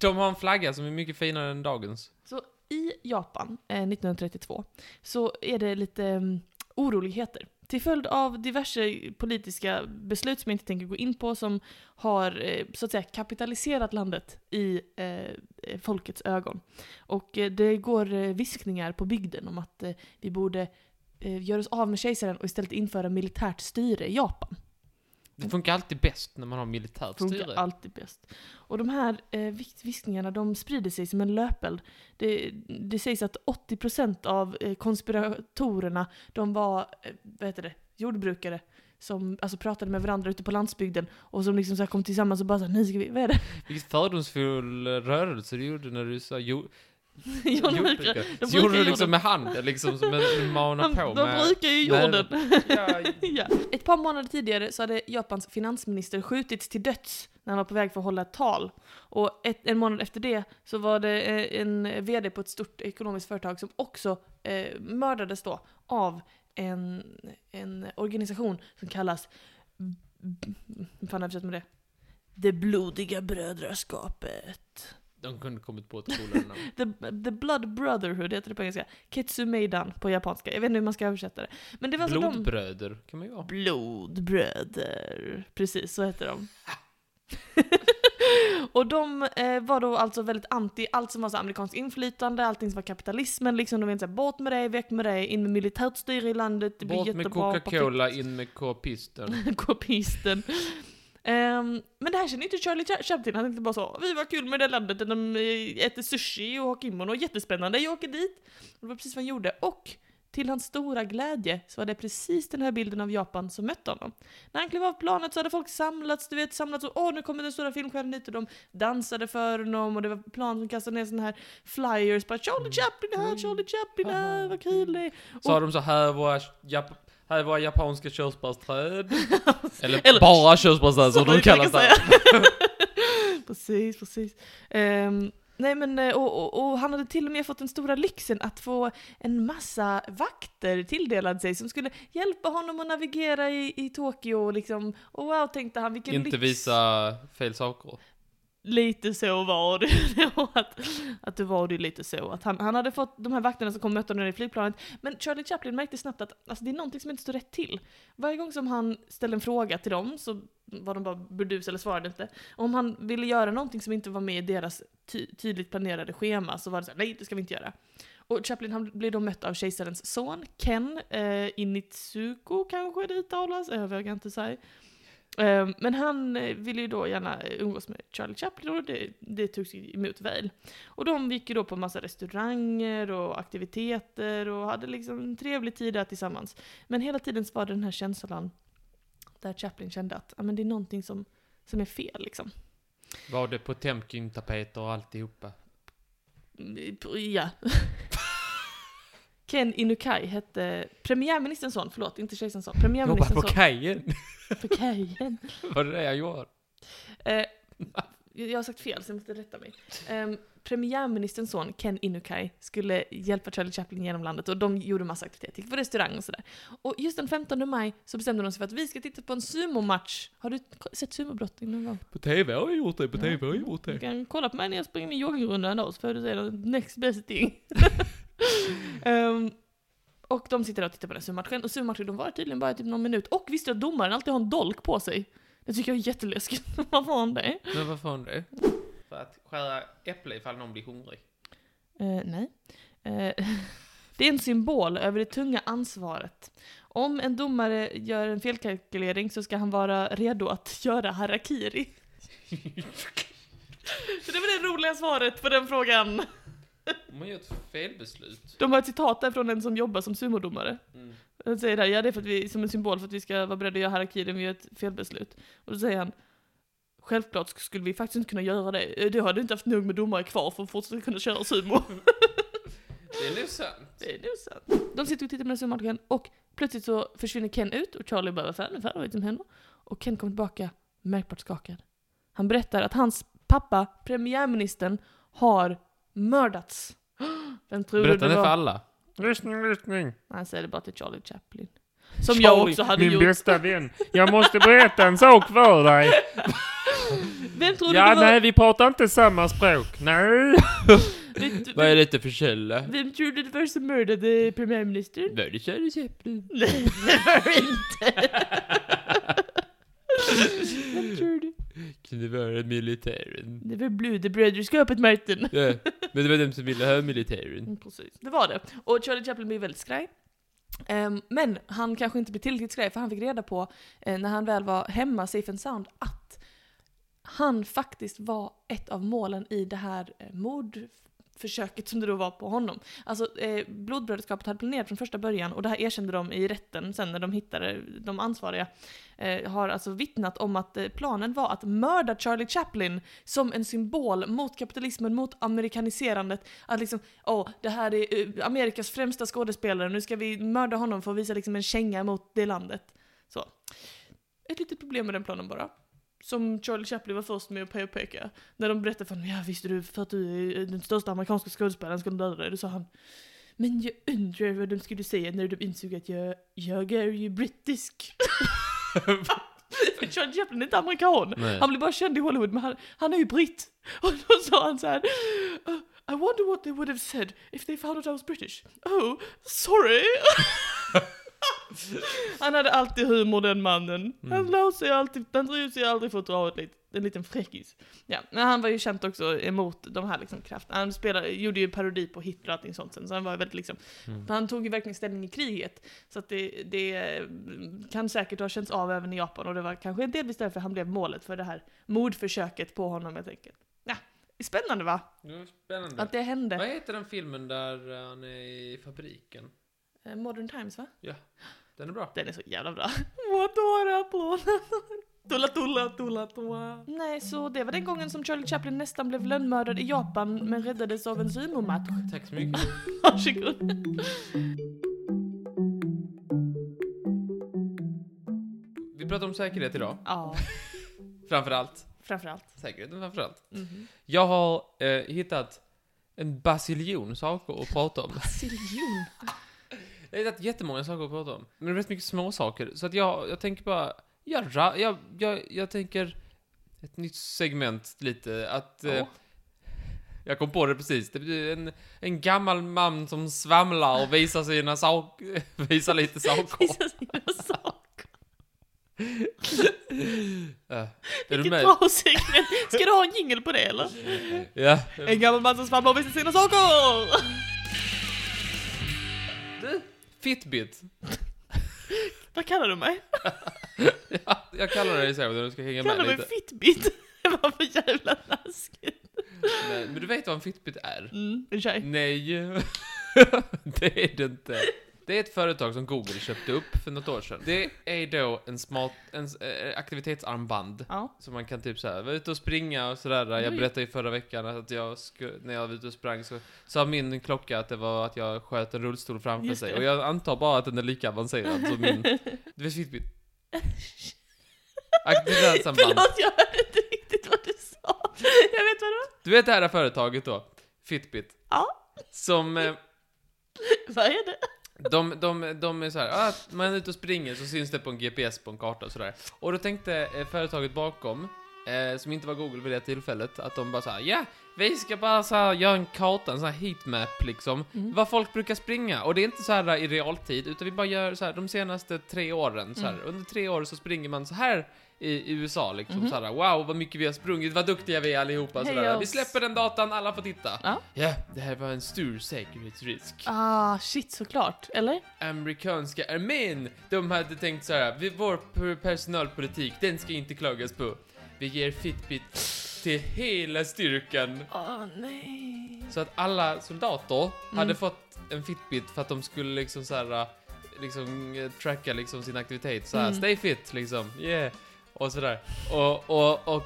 De har en flagga som är mycket finare än dagens.
Så i Japan eh, 1932 så är det lite mm, oroligheter. Till följd av diverse politiska beslut som jag inte tänker gå in på som har eh, så att säga kapitaliserat landet i eh, folkets ögon. Och eh, det går eh, viskningar på bygden om att eh, vi borde eh, göra oss av med kejsaren och istället införa militärt styre i Japan
Det funkar alltid bäst när man har militärt
funkar
styre.
alltid bäst. Och de här eh, vis- viskningarna de sprider sig som en löpeld. Det, det sägs att 80% av eh, konspiratorerna de var eh, vad heter det, jordbrukare som alltså, pratade med varandra ute på landsbygden och som liksom så här kom tillsammans och bara såhär, nu ska vi, vad är det?
Vilken fördomsfull eh, rörelse du gjorde när du sa jo,
Jordbrukare.
jordbrukare.
De
Så gjorde du
brukar
liksom med handen, liksom som en mana
De,
på
de
med...
brukar ju
med-
jorden.
Ja,
ja. Ett par månader tidigare så hade Japans finansminister skjutits till döds när han var på väg för att hålla ett tal. Och ett, en månad efter det så var det eh, en VD på ett stort ekonomiskt företag som också eh, mördades då av en, en organisation som kallas... Hur fan har jag försökt med det? Det blodiga brödraskapet.
De kunde kommit på ett coolare namn.
The, the Blood Brotherhood heter det på engelska. Ketsumeidan på japanska. Jag vet inte hur man ska översätta det. Men det var alltså de...
Blodbröder kan man ju vara.
Blodbröder. Precis, så heter de. och de eh, var då alltså väldigt anti allt som var så amerikanskt inflytande, allting som var kapitalismen liksom. De var inte såhär, bort med dig, väck med dig, in med militärt styre i landet, det blir
Bort med
jättebra.
Coca-Cola, in med k-pisten.
perfekt." Kopisten. Ehm, men det här känner inte Charlie Cha- Chaplin, han tänkte bara så Vi var kul med det landet där de eh, äter sushi och har kimono, jättespännande, jag åker dit. Och det var precis vad han gjorde. Och till hans stora glädje så var det precis den här bilden av Japan som mötte honom. När han klev av planet så hade folk samlats, du vet samlats och åh nu kommer den stora filmstjärnan hit och de dansade för honom och det var plan som kastade ner sådana här flyers bara Charlie Chaplin här, Charlie Chaplin här, vad kul det är.
Sa de så här är våra, jap här är våra japanska körsbärsträd. Eller,
Eller-
bara körsbärsträd som
man
de
brukar
kallas
säga.
där.
precis, precis. Ehm, nej men, eh, och, och, och han hade till och med fått den stora lyxen att få en massa vakter tilldelad sig som skulle hjälpa honom att navigera i, i Tokyo och liksom, och wow tänkte han vilken
Inte
lyx.
visa fel saker.
Lite så var det då, att, att det var det lite så. Att han, han hade fått de här vakterna som kom möta honom i flygplanet. Men Charlie Chaplin märkte snabbt att alltså, det är någonting som inte står rätt till. Varje gång som han ställde en fråga till dem så var de bara burdus eller svarade inte. Om han ville göra någonting som inte var med i deras ty- tydligt planerade schema så var det så här, nej det ska vi inte göra. Och Chaplin han blir då mött av kejsarens son Ken eh, Initsuko kanske det uttalas, jag vågar inte säga. Eh, men han eh, ville ju då gärna eh, umgås med Charlie Chaplin och det, det togs ju emot väl. Och de gick ju då på massa restauranger och aktiviteter och hade liksom en trevlig tid där tillsammans. Men hela tiden så var det den här känslan där Chaplin kände att ah, men det är någonting som, som är fel liksom.
Var det Potemkin-tapeter och alltihopa?
Mm, Ja. Ken Inukai hette premiärministerns son, förlåt, inte kejsarens son.
Jobbar på
Premiärministerns son.
kajen?
På kajen.
Var det det jag gjorde?
Eh, jag har sagt fel, så jag måste rätta mig. Ehm, premiärministerns son, Ken Inukai, skulle hjälpa Charlie Chaplin genom landet och de gjorde massa aktiviteter, gick på restaurang och sådär. Och just den 15 maj så bestämde de sig för att vi ska titta på en sumomatch. Har du k- sett sumobrottning någon gång?
På TV har jag gjort det, på
Ja.
TV har jag gjort
Du
det.
kan kolla på mig när jag springer min joggingrunda en dag så får du se något next best thing. Ehm, och de sitter där och tittar på den summatchen och summatchen de var tydligen bara typ någon minut. Och visste du att domaren alltid har en dolk på sig? Det tycker jag är jätteläskigt. Vad var han det?
Men vad fan det? För att skära äpple ifall någon blir hungrig.
Eh, nej. Eh, det är en symbol över det tunga ansvaret. Om en domare gör en felkalkylering så ska han vara redo att göra harakiri. så det var det roliga svaret på den frågan.
Om man gör ett felbeslut.
De har ett citat där från en som jobbar som sumodomare.
Mm.
Han säger det här, ja det är för att vi, som en symbol för att vi ska vara beredda att göra harakiri om vi gör ett felbeslut. Och då säger han, självklart sk- skulle vi faktiskt inte kunna göra det. Eh, Då hade du inte haft nog med domare kvar för att fortsätta kunna köra sumo.
Det är nog sant.
det är nog sant. De sitter och tittar på den här sumomatchen och plötsligt så försvinner Ken ut och Charlie bara, vad fan, vad fan, vad är det som händer? Och Ken kommer tillbaka märkbart skakad. Han berättar att hans pappa, premiärministern, har mördats. Vem tror
Berätta
du
det
det
för
var?
alla.
Lyssning, lyssning.
Han säger det bara till Charlie Chaplin. Som jag också hade
min
gjort.
bästa vän. Jag måste berätta en sak för dig.
Vem tror du
Ja,
det var?
nej, vi pratar inte samma språk. Nej.
Vet du-
Vad är detta för källa?
Vem tror du det var som mördade premiärministern?
Vad är det kära Zeppelin?
Nej, det var det inte. Vem tror du?
Kan det vara militären?
Det var Bludebröderskapet, Martin.
Ja, men det var de som ville ha militären.
Mm, Precis, det var det. Och Charlie Chaplin blir väldigt skraj. Ehm, men han kanske inte blir tillräckligt skraj, för han fick reda på, eh, när han väl var hemma, safe and sound, att han faktiskt var ett av målen i det här eh, mordförsöket som det då var på honom. Alltså, eh, blodbröderskapet hade planerat från första början och det här erkände de i rätten sen när de hittade de ansvariga. Eh, har alltså vittnat om att eh, planen var att mörda Charlie Chaplin som en symbol mot kapitalismen, mot amerikaniserandet. Att liksom, åh, det här är eh, Amerikas främsta skådespelare, nu ska vi mörda honom för att visa liksom en känga mot det landet. Så. Ett litet problem med den planen bara. Som Charlie Chaplin var först med att påpeka. När de berättade för honom, ja visste du, för att du är eh, den största amerikanska skådespelaren ska de döda dig. Då sa han, men jag undrar vad de skulle säga när de insåg att jag, jag är ju brittisk. för Charlie Chaplin är inte amerikan.
Nej.
Han blev bara känd i Hollywood, men han, han är ju britt. Och då sa han så här, "Uh, I wonder what they would have said if they found out I was British. Oh, sorry. han hade alltid humor den mannen. Han
Mm.
la sig alltid, han drog sig aldrig för att dra åt lite, en liten fräckis. Ja, men han var ju känt också emot de här liksom krafterna. Han spelade, gjorde ju parodi på Hitler och allting sånt sen, så han var ju väldigt liksom,
Mm.
han tog ju verkligen ställning i kriget. Så att det, det eh, kan säkert ha känts av även i Japan och det var kanske delvis därför han blev målet för det här mordförsöket på honom helt enkelt. Ja, spännande va?
Det var spännande.
Att det hände.
Vad heter den filmen där eh, han är i fabriken?
Eh, Modern Times va?
Den är bra.
Den är så jävla bra. Motora applåder. Tulla, tulla, tulla, tulla. Nej, så det var den gången som Charlie Chaplin nästan blev lönnmördad i Japan men räddades av en sumomatch.
Tack så mycket.
Varsågod.
Vi pratar om säkerhet idag.
Ja,
Framförallt.
framförallt.
Säkerheten framförallt.
Mhm.
Jag har eh, hittat en basiljon saker att prata om.
Basiljon.
Jag har hittat jättemånga saker att prata om. Men det är rätt mycket små saker. Så att jag, jag tänker bara... Jag, ra- jag, jag, jag tänker... Ett nytt segment lite. Att... Eh,
Ja.
jag kom på det precis. Det betyder en, en gammal man som svamlar och visar sina saker. visar lite saker.
Visa sina saker.
Eh, är du
Vilket
med?
bra segment. Ska du ha en jingle på det eller?
Ja.
En gammal man som svamlar och visar sina saker!
Du, Fitbit.
Vad kallar du mig?
Ja, jag kallar dig så, du ska hänga
Kallar
med
du mig
lite.
Fitbit? Vad för jävla taskigt.
Nej, Men du vet vad en Fitbit är?
Mm, en tjej.
Nej, det är det inte. Det är ett företag som Google köpte upp för något år sedan. Det är då en smart, en eh, aktivitetsarmband.
Ja.
Som man kan typ såhär, vara ute och springa och sådär. Jag
Oj.
berättade ju förra veckan att jag sku, när jag var ute och sprang så sa min klocka att det var att jag sköt en rullstol framför
Just
sig.
det.
Och jag antar bara att den är lika avancerad som min... Du vet Fitbit? Aktivitetssamband.
Förlåt, jag hörde inte riktigt vad du sa. Jag vet vad det var.
Du vet det här företaget då? Fitbit.
Ja.
Som... Eh,
Vad är det?
De, de, de är så här, ah, man är ute och springer så syns det på en GPS på en karta och sådär. Och då tänkte eh, företaget bakom eh, som inte var Google vid det tillfället, att de bara såhär, ja, vi ska bara så här, göra en karta, en sån här heatmap liksom,
Mm.
vad folk brukar springa. Och det är inte så här i realtid, utan vi bara gör så här de senaste tre åren. Så här,
Mm.
Under tre år så springer man så här i i USA liksom,
Mhm.
så här, wow vad mycket vi har sprungit, vad duktiga vi är allihopa. Så
Hej
där. Vi
oss.
släpper den datan, alla får titta.
Ja.
det här var en stor säkerhetsrisk.
Ah, shit såklart. Eller?
amerikanska armén. De hade tänkt så här, "Vi- vår p- personalpolitik, den ska inte klagas på. Vi ger Fitbit till hela styrkan.
Åh nej.
Så att alla soldater hade
Mm.
fått en Fitbit för att de skulle liksom så här, liksom eh, tracka liksom sin aktivitet så här,
Mm.
stay fit liksom, yeah. Och sådär. Och, och, och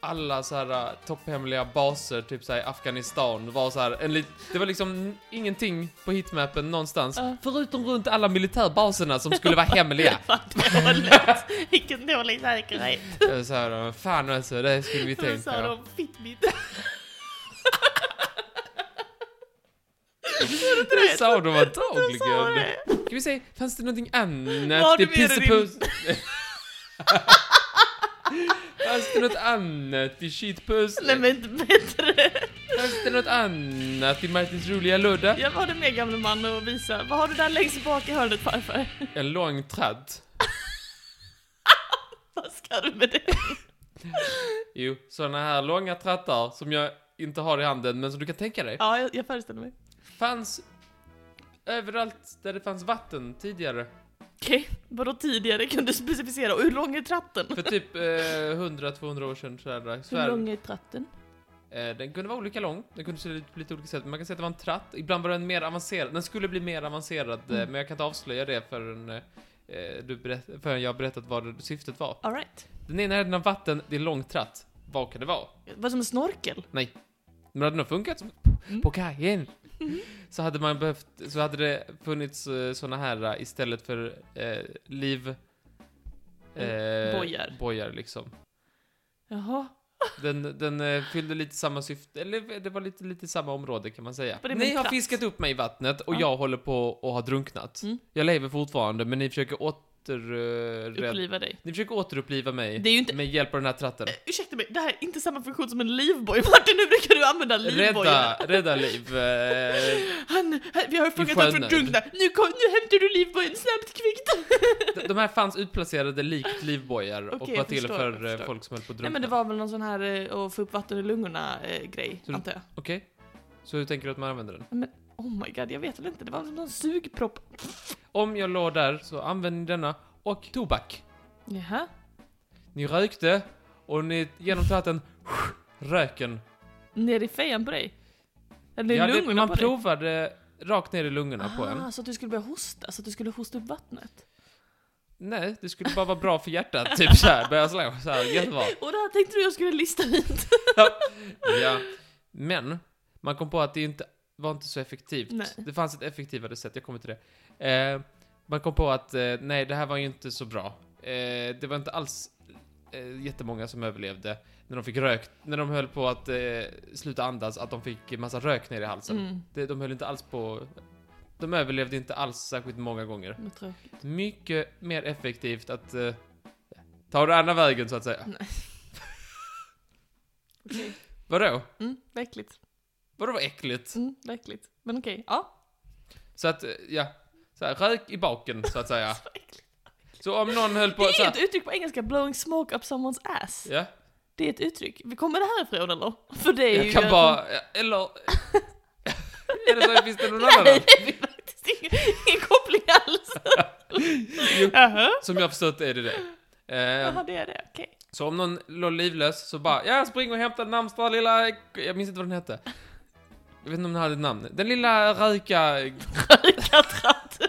alla så här eh, topphemliga baser, typ såhär Afghanistan, var så här, en lit, det var liksom ingenting på hitmappen någonstans.
Ja.
Förutom runt alla militärbaserna som skulle vara hemliga.
Vad dåligt. Vilken dålig säkerhet.
Eh, Så här, eh, fan alltså, det skulle vi
Då
tänkt
sa
på.
de Fitbit.
Det sa de
Då sa
antagligen.
det.
Ska vi se, fanns det någonting annat
Var
i
du med i din-
pissepus... fanns det något annat i
Nej
shitpusslet?
men inte bättre.
Fanns det något annat i Martins roliga ludda?
Jag var det med gamle man och visa. Vad har du där längst bak i hörnet farfar?
En lång tratt.
Vad ska du med det?
Jo, såna här långa trattar som jag inte har i handen, men som du kan tänka dig.
Ja, jag, jag föreställer mig.
Fanns överallt där det fanns vatten tidigare.
Okej, vadå tidigare? Kan du specificera? Och hur lång är tratten?
För typ eh, 100-200 år sedan sådär.
Hur
Sverige.
lång är tratten?
Eh, Den kunde vara olika lång, den kunde se ut på lite olika sätt, men man kan säga att det var en tratt. Ibland var den mer avancerad, den skulle bli mer avancerad, eh,
Mm.
men jag kan inte avslöja det förrän, eh, du berätt, förrän jag har berättat vad det- syftet var.
Alright.
Den ena hade av vatten, det är en lång tratt. Vad kan det vara?
Vad som en snorkel?
Men hade den funkat som
Mm.
på kajen, så hade man behövt, så hade det funnits eh, såna här eh, istället för eh, liv... Eh,
Mm. bojar.
Bojar liksom.
Jaha.
Den, den eh, fyllde lite samma syfte, eller det var lite, lite samma område kan man säga.
Var det
Ni
min
har
plats?
fiskat upp mig i vattnet och
Ja.
jag håller på att ha drunknat.
Mm.
Jag lever fortfarande, men ni försöker åter... eh, rädd-
Uppliva dig.
Ni försöker återuppliva mig
Det är ju inte...
med hjälp av den här tratten.
Eh, Ursäkta mig, det här är inte samma funktion som en livboj. Martin, nu brukar du använda livbojen.
Rädda, rädda liv. Eh,
Han, han, vi har fångat honom från
sjönöd.
drunkna. Nu, kom, nu hämtar du livbojen snabbt, kvickt.
de- de här fanns utplacerade likt livbojar och
Okej,
var
jag
till
förstår,
för
jag
eh,
förstår.
folk som höll på att drunkna.
Nej men det var väl någon sån här eh, att få upp vatten ur lungorna eh, grej,
Så du-
antar jag.
Okej, så hur tänker du att man använder den?
Oh my god, jag vet väl inte. Det var som någon sugpropp.
Om jag låg där så använde ni denna och tobak.
Jaha.
Ni rökte och ni genom tratten röken
Ner i fejan på dig? Eller i
Ja, det-
lungorna
man
på dig? Ah.
provade rakt ner i lungorna på en.
så att du skulle börja hosta, så att du skulle hosta upp vattnet.
Nej, det skulle bara vara bra för hjärtat, typ såhär, börja slå såhär, jättebra.
Och det här tänkte du jag skulle lista hit.
Alltså. Ja. Men, man kom på att det inte var inte så effektivt.
Nej.
Det fanns ett effektivare sätt, jag kommer till det. Eh, man kom på att, eh, nej, det här var ju inte så bra. Eh, det var inte alls eh, jättemånga som överlevde när de fick rök, när de höll på att eh, sluta andas, att de fick massa rök ner i halsen.
Mm,
Det, de höll inte alls på, de överlevde inte alls särskilt många gånger.
vad tråkigt.
mycket mer effektivt att eh, ta den andra vägen så att säga.
Nej. Okej.
Vadå?
Mm, verkligt.
Vadå var äckligt?
Mm, verkligt. Men okej, ja.
Så att, eh, ja, så här, rök i baken så att säga.
Vad äckligt.
Så om någon höll
Det
på så
är
här,
ett uttryck på engelska, blowing smoke up someone's ass.
Ja,
Det är ett uttryck. Vi Kommer det härifrån eller? För det är ju...
jag kan bara, ja, eller... Eller så finns det någon annan
Nej,
där?
det är faktiskt ingen, ingen koppling alls.
Jo,
Jaha,
Som jag har förstått är det det. Eh,
Jaha, det är det. Okej.
så om någon låg livlös så bara, ja spring och hämta den närmsta lilla, jag minns inte vad den hette. Jag vet inte om den hade ett namn. Den lilla röka
Kattratten.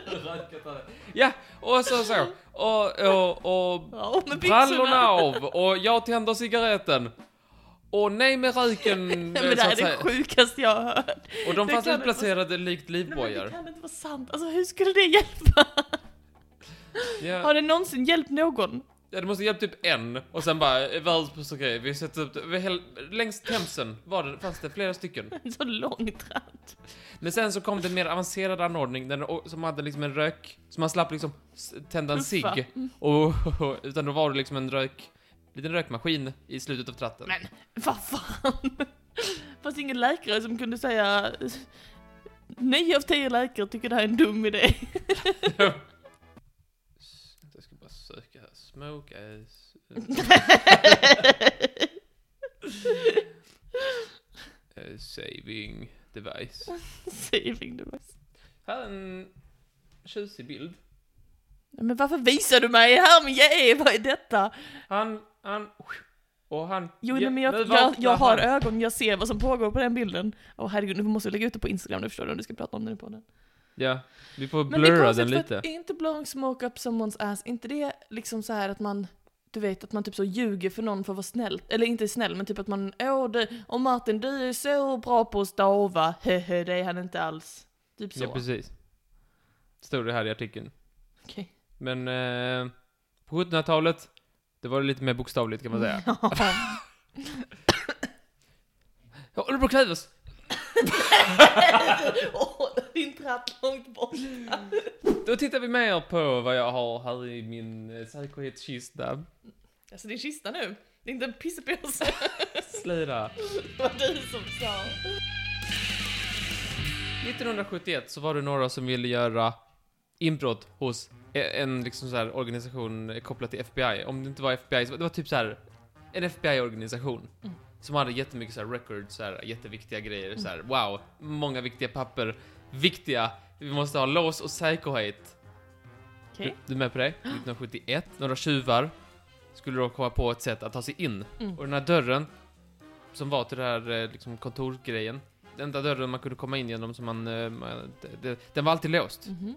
Ja, och så så. Och, och, och
Ja, med byxorna.
brallorna av och jag tänder cigaretten. Och nej med röken,
Nej, men det
så
här är
att
det
säga.
sjukaste jag har hört.
Och de
det
fanns
kan inte
utplacerade likt
Nej, men det
livbojar.
kan inte vara sant. Alltså hur skulle det hjälpa?
Ja,
Har det någonsin hjälpt någon?
ja, det måste ha hjälpt typ en. Och sen bara, eh, världens grej, vi sätter upp det. vi häll- Längs Themsen var det, fanns det flera stycken.
En så lång tratt.
Men sen så kom det en mer avancerad anordning där, det- som hade liksom en rök, så man slapp liksom s- tända en
Puffa.
cigg. Och, utan då var det liksom en rök liten rökmaskin i slutet av tratten.
Men vad fan? Fanns ingen läkare som kunde säga nio av tio läkare tycker det här är en dum idé.
S- Jag ska bara söka här. Smoke as... uh, eh, saving device.
Saving device.
Här är en tjusig bild.
Men varför visar du mig här med ge? Vad är detta?
Han, han... Och han...
Jo,
Ja,
men jag,
nu
jag,
vaknar
jag har
han.
ögon, jag ser vad som pågår på den bilden. Åh herregud, nu måste vi lägga ut det på Instagram, nu förstår du om du ska prata om den på den.
Ja, vi får
Men det är
blurra
konstigt
den
för
lite.
att, är inte blowing smoke up someone's ass, är inte det liksom så här att man, du vet att man typ så ljuger för någon för att vara snäll, eller inte snäll men typ att man, åh du, och Martin du är så bra på att stava, hehe det är han inte alls. Typ så.
Ja, precis. Stod det här i artikeln.
Okej.
Men eh, på 1700-talet, det var det lite mer bokstavligt kan man
Mm.
säga. Jag håller på att kvävas!
Åh, din tratt långt bort.
Då tittar vi mer på vad jag har här i min eh, säkerhetskista.
Alltså din kista nu, det är inte en pissepåse.
Slira.
Det var du som sa.
1971 så var det några som ville göra inbrott hos e- en liksom så här organisation kopplad till FBI. Om det inte var FBI, så det var typ så här en FBI-organisation.
Mm.
Som hade jättemycket så här records, så här jätteviktiga grejer. Så här, wow, många viktiga papper. Viktiga, vi måste ha lås och säkerhet.
Okej.
Du, du är med på det? 1971, några tjuvar skulle då komma på ett sätt att ta sig in.
Mm.
Och den här dörren, som var till det här eh, liksom, kontorsgrejen, den enda dörren man kunde komma in genom som man... eh, man det- det, den var alltid låst.
Mhm.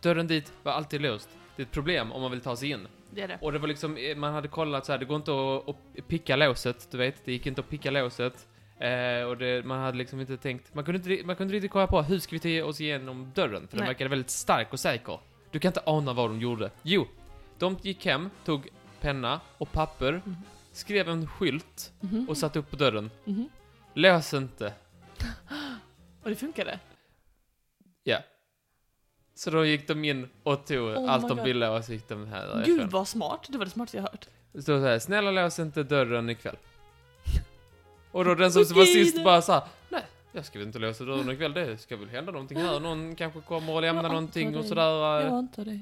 Dörren dit var alltid låst. Det är ett problem om man vill ta sig in.
Det är det.
Och det var liksom, eh, man hade kollat så här, det går inte att, att picka låset, du vet. Det gick inte att picka låset. Eh, och det, man hade liksom inte tänkt, man kunde inte, ri- man kunde inte riktigt kolla på hur ska vi ta oss igenom dörren? För den
Nej.
verkade väldigt stark och säker. Du kan inte ana vad de gjorde. Jo, de gick hem, tog penna och papper,
Mhm.
skrev en skylt
Mhm.
och satte upp på dörren.
Mhm.
Lös inte.
Och det funkade?
Så då gick de in och tog
Oh my
allt de
God.
ville och så gick de här
Gud
därifrån.
vad smart, det var det smartaste jag hört.
Det står så här, snälla lås inte dörren ikväll. Och då den som var
Okej,
sist
det-
bara såhär, nej, jag ska väl inte låsa dörren ikväll, det ska väl hända någonting här, någon kanske kommer och lämnar
Jag antar
någonting och
det.
sådär. eh,
Jag antar det.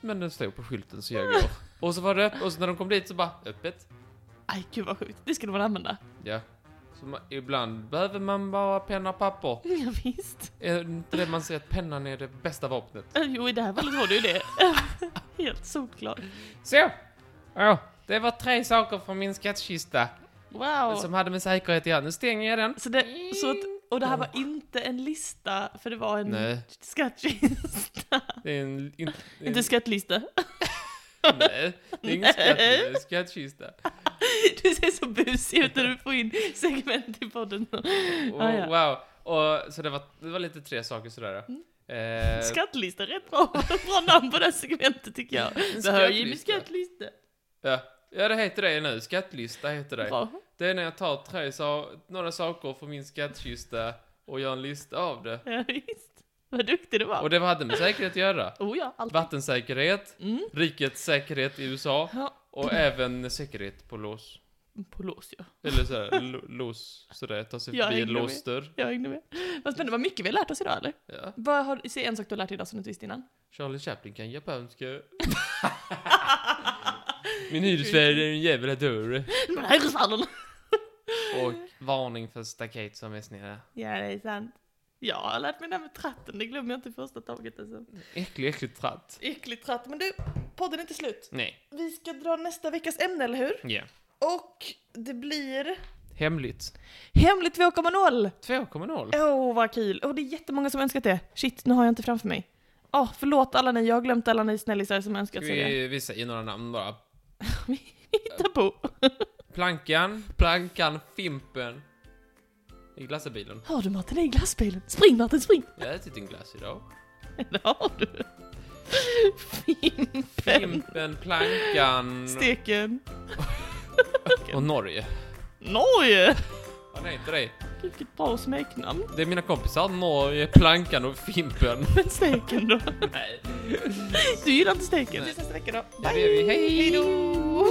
Men den stod på skylten så jag går. Och så var det öppet, och så när de kom dit så bara, öppet.
Aj, gud vad sjukt. Det skulle man använda.
Ja. Så man, ibland behöver man bara penna och papper.
Ja, visst.
Är det inte det man säger att pennan är det bästa vapnet?
Eh, Jo, i det här fallet var det ju det. Helt solklart.
Så! Ja, det var tre saker från min skattkista.
Wow.
Som hade med säkerhet att göra. Nu stänger jag den.
Så det, så att, och det här var inte en lista, för det var en
Nej,
skattlista.
det är en... In, det är
Inte
en
en skattlista.
nej, det är ingen skatt, det är en skattkista.
Du ser så busig ut när du får in segment i podden.
Och,
Ah, ja.
Wow. Och, så det var, det var lite tre saker sådär.
Mm.
Eh,
Skattlista är rätt bra. Bra namn på det här segmentet tycker jag. Det hör ju med skattlista.
ja. ja, det heter det nu. Skattlista heter det.
Bra.
Det är när jag tar tre, sa- några saker från min skattkista och gör en lista av det.
Ja, visst. Vad duktig du
Och
var.
det hade med säkerhet att göra.
Oh ja, allt.
Vattensäkerhet,
Mm.
rikets säkerhet i USA
Ja,
och även säkerhet på lås.
på lås ja.
Eller sådär, lo- lås, sådär, ta sig
Jag
förbi en
hängde med.
låst dörr.
Jag hängde med. Vad spännande, vad mycket vi har lärt oss idag eller?
Ja.
Vad har, se en sak du har lärt dig idag som du inte visste innan.
Charlie Chaplin kan japanska. Min hyresvärd är en jävla dörr.
Men här är fallen.
Och varning för staket som är sneda.
Ja, det är sant. Jag har lärt mig det här med tratten, det glömmer jag inte i första taget alltså.
Äcklig, äcklig tratt.
Äcklig tratt, men du, podden är inte slut.
Nej.
Vi ska dra nästa veckas ämne, eller hur?
Ja.
Och det blir...
Hemligt.
Hemligt 2.0!
2,0.
Åh, oh, vad kul! Och det är jättemånga som önskat det. Shit, nu har jag inte framför mig. Åh, förlåt alla ni, jag har glömt alla ni snällisar som
Ska
önskat sig det.
vi, vi säger några namn bara.
Hitta på!
Plankan, Plankan, Fimpen. I glassabilen.
Hör du Martin, det är glassbilen! Spring Martin, spring!
Jag har ätit en glass idag.
Det har du! Fimpen!
Fimpen, Plankan
Steken!
och Norge.
Norge!
Vad heter det?
Vilket bra smeknamn.
Det är mina kompisar, Norge, Plankan och Fimpen.
Men steken då?
Nej.
Du gillar inte steken?
Nej.
Vi ses nästa vecka då.
Det gör vi. Hej!
Hej då!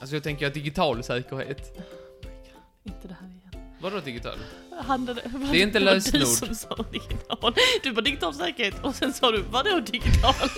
Alltså jag tänker digital säkerhet.
Inte det här igen.
Vadå digital?
Handlade,
Det är inte
var Du
lösenord.
som sa digital. Du bara digital säkerhet och sen sa du vadå digital?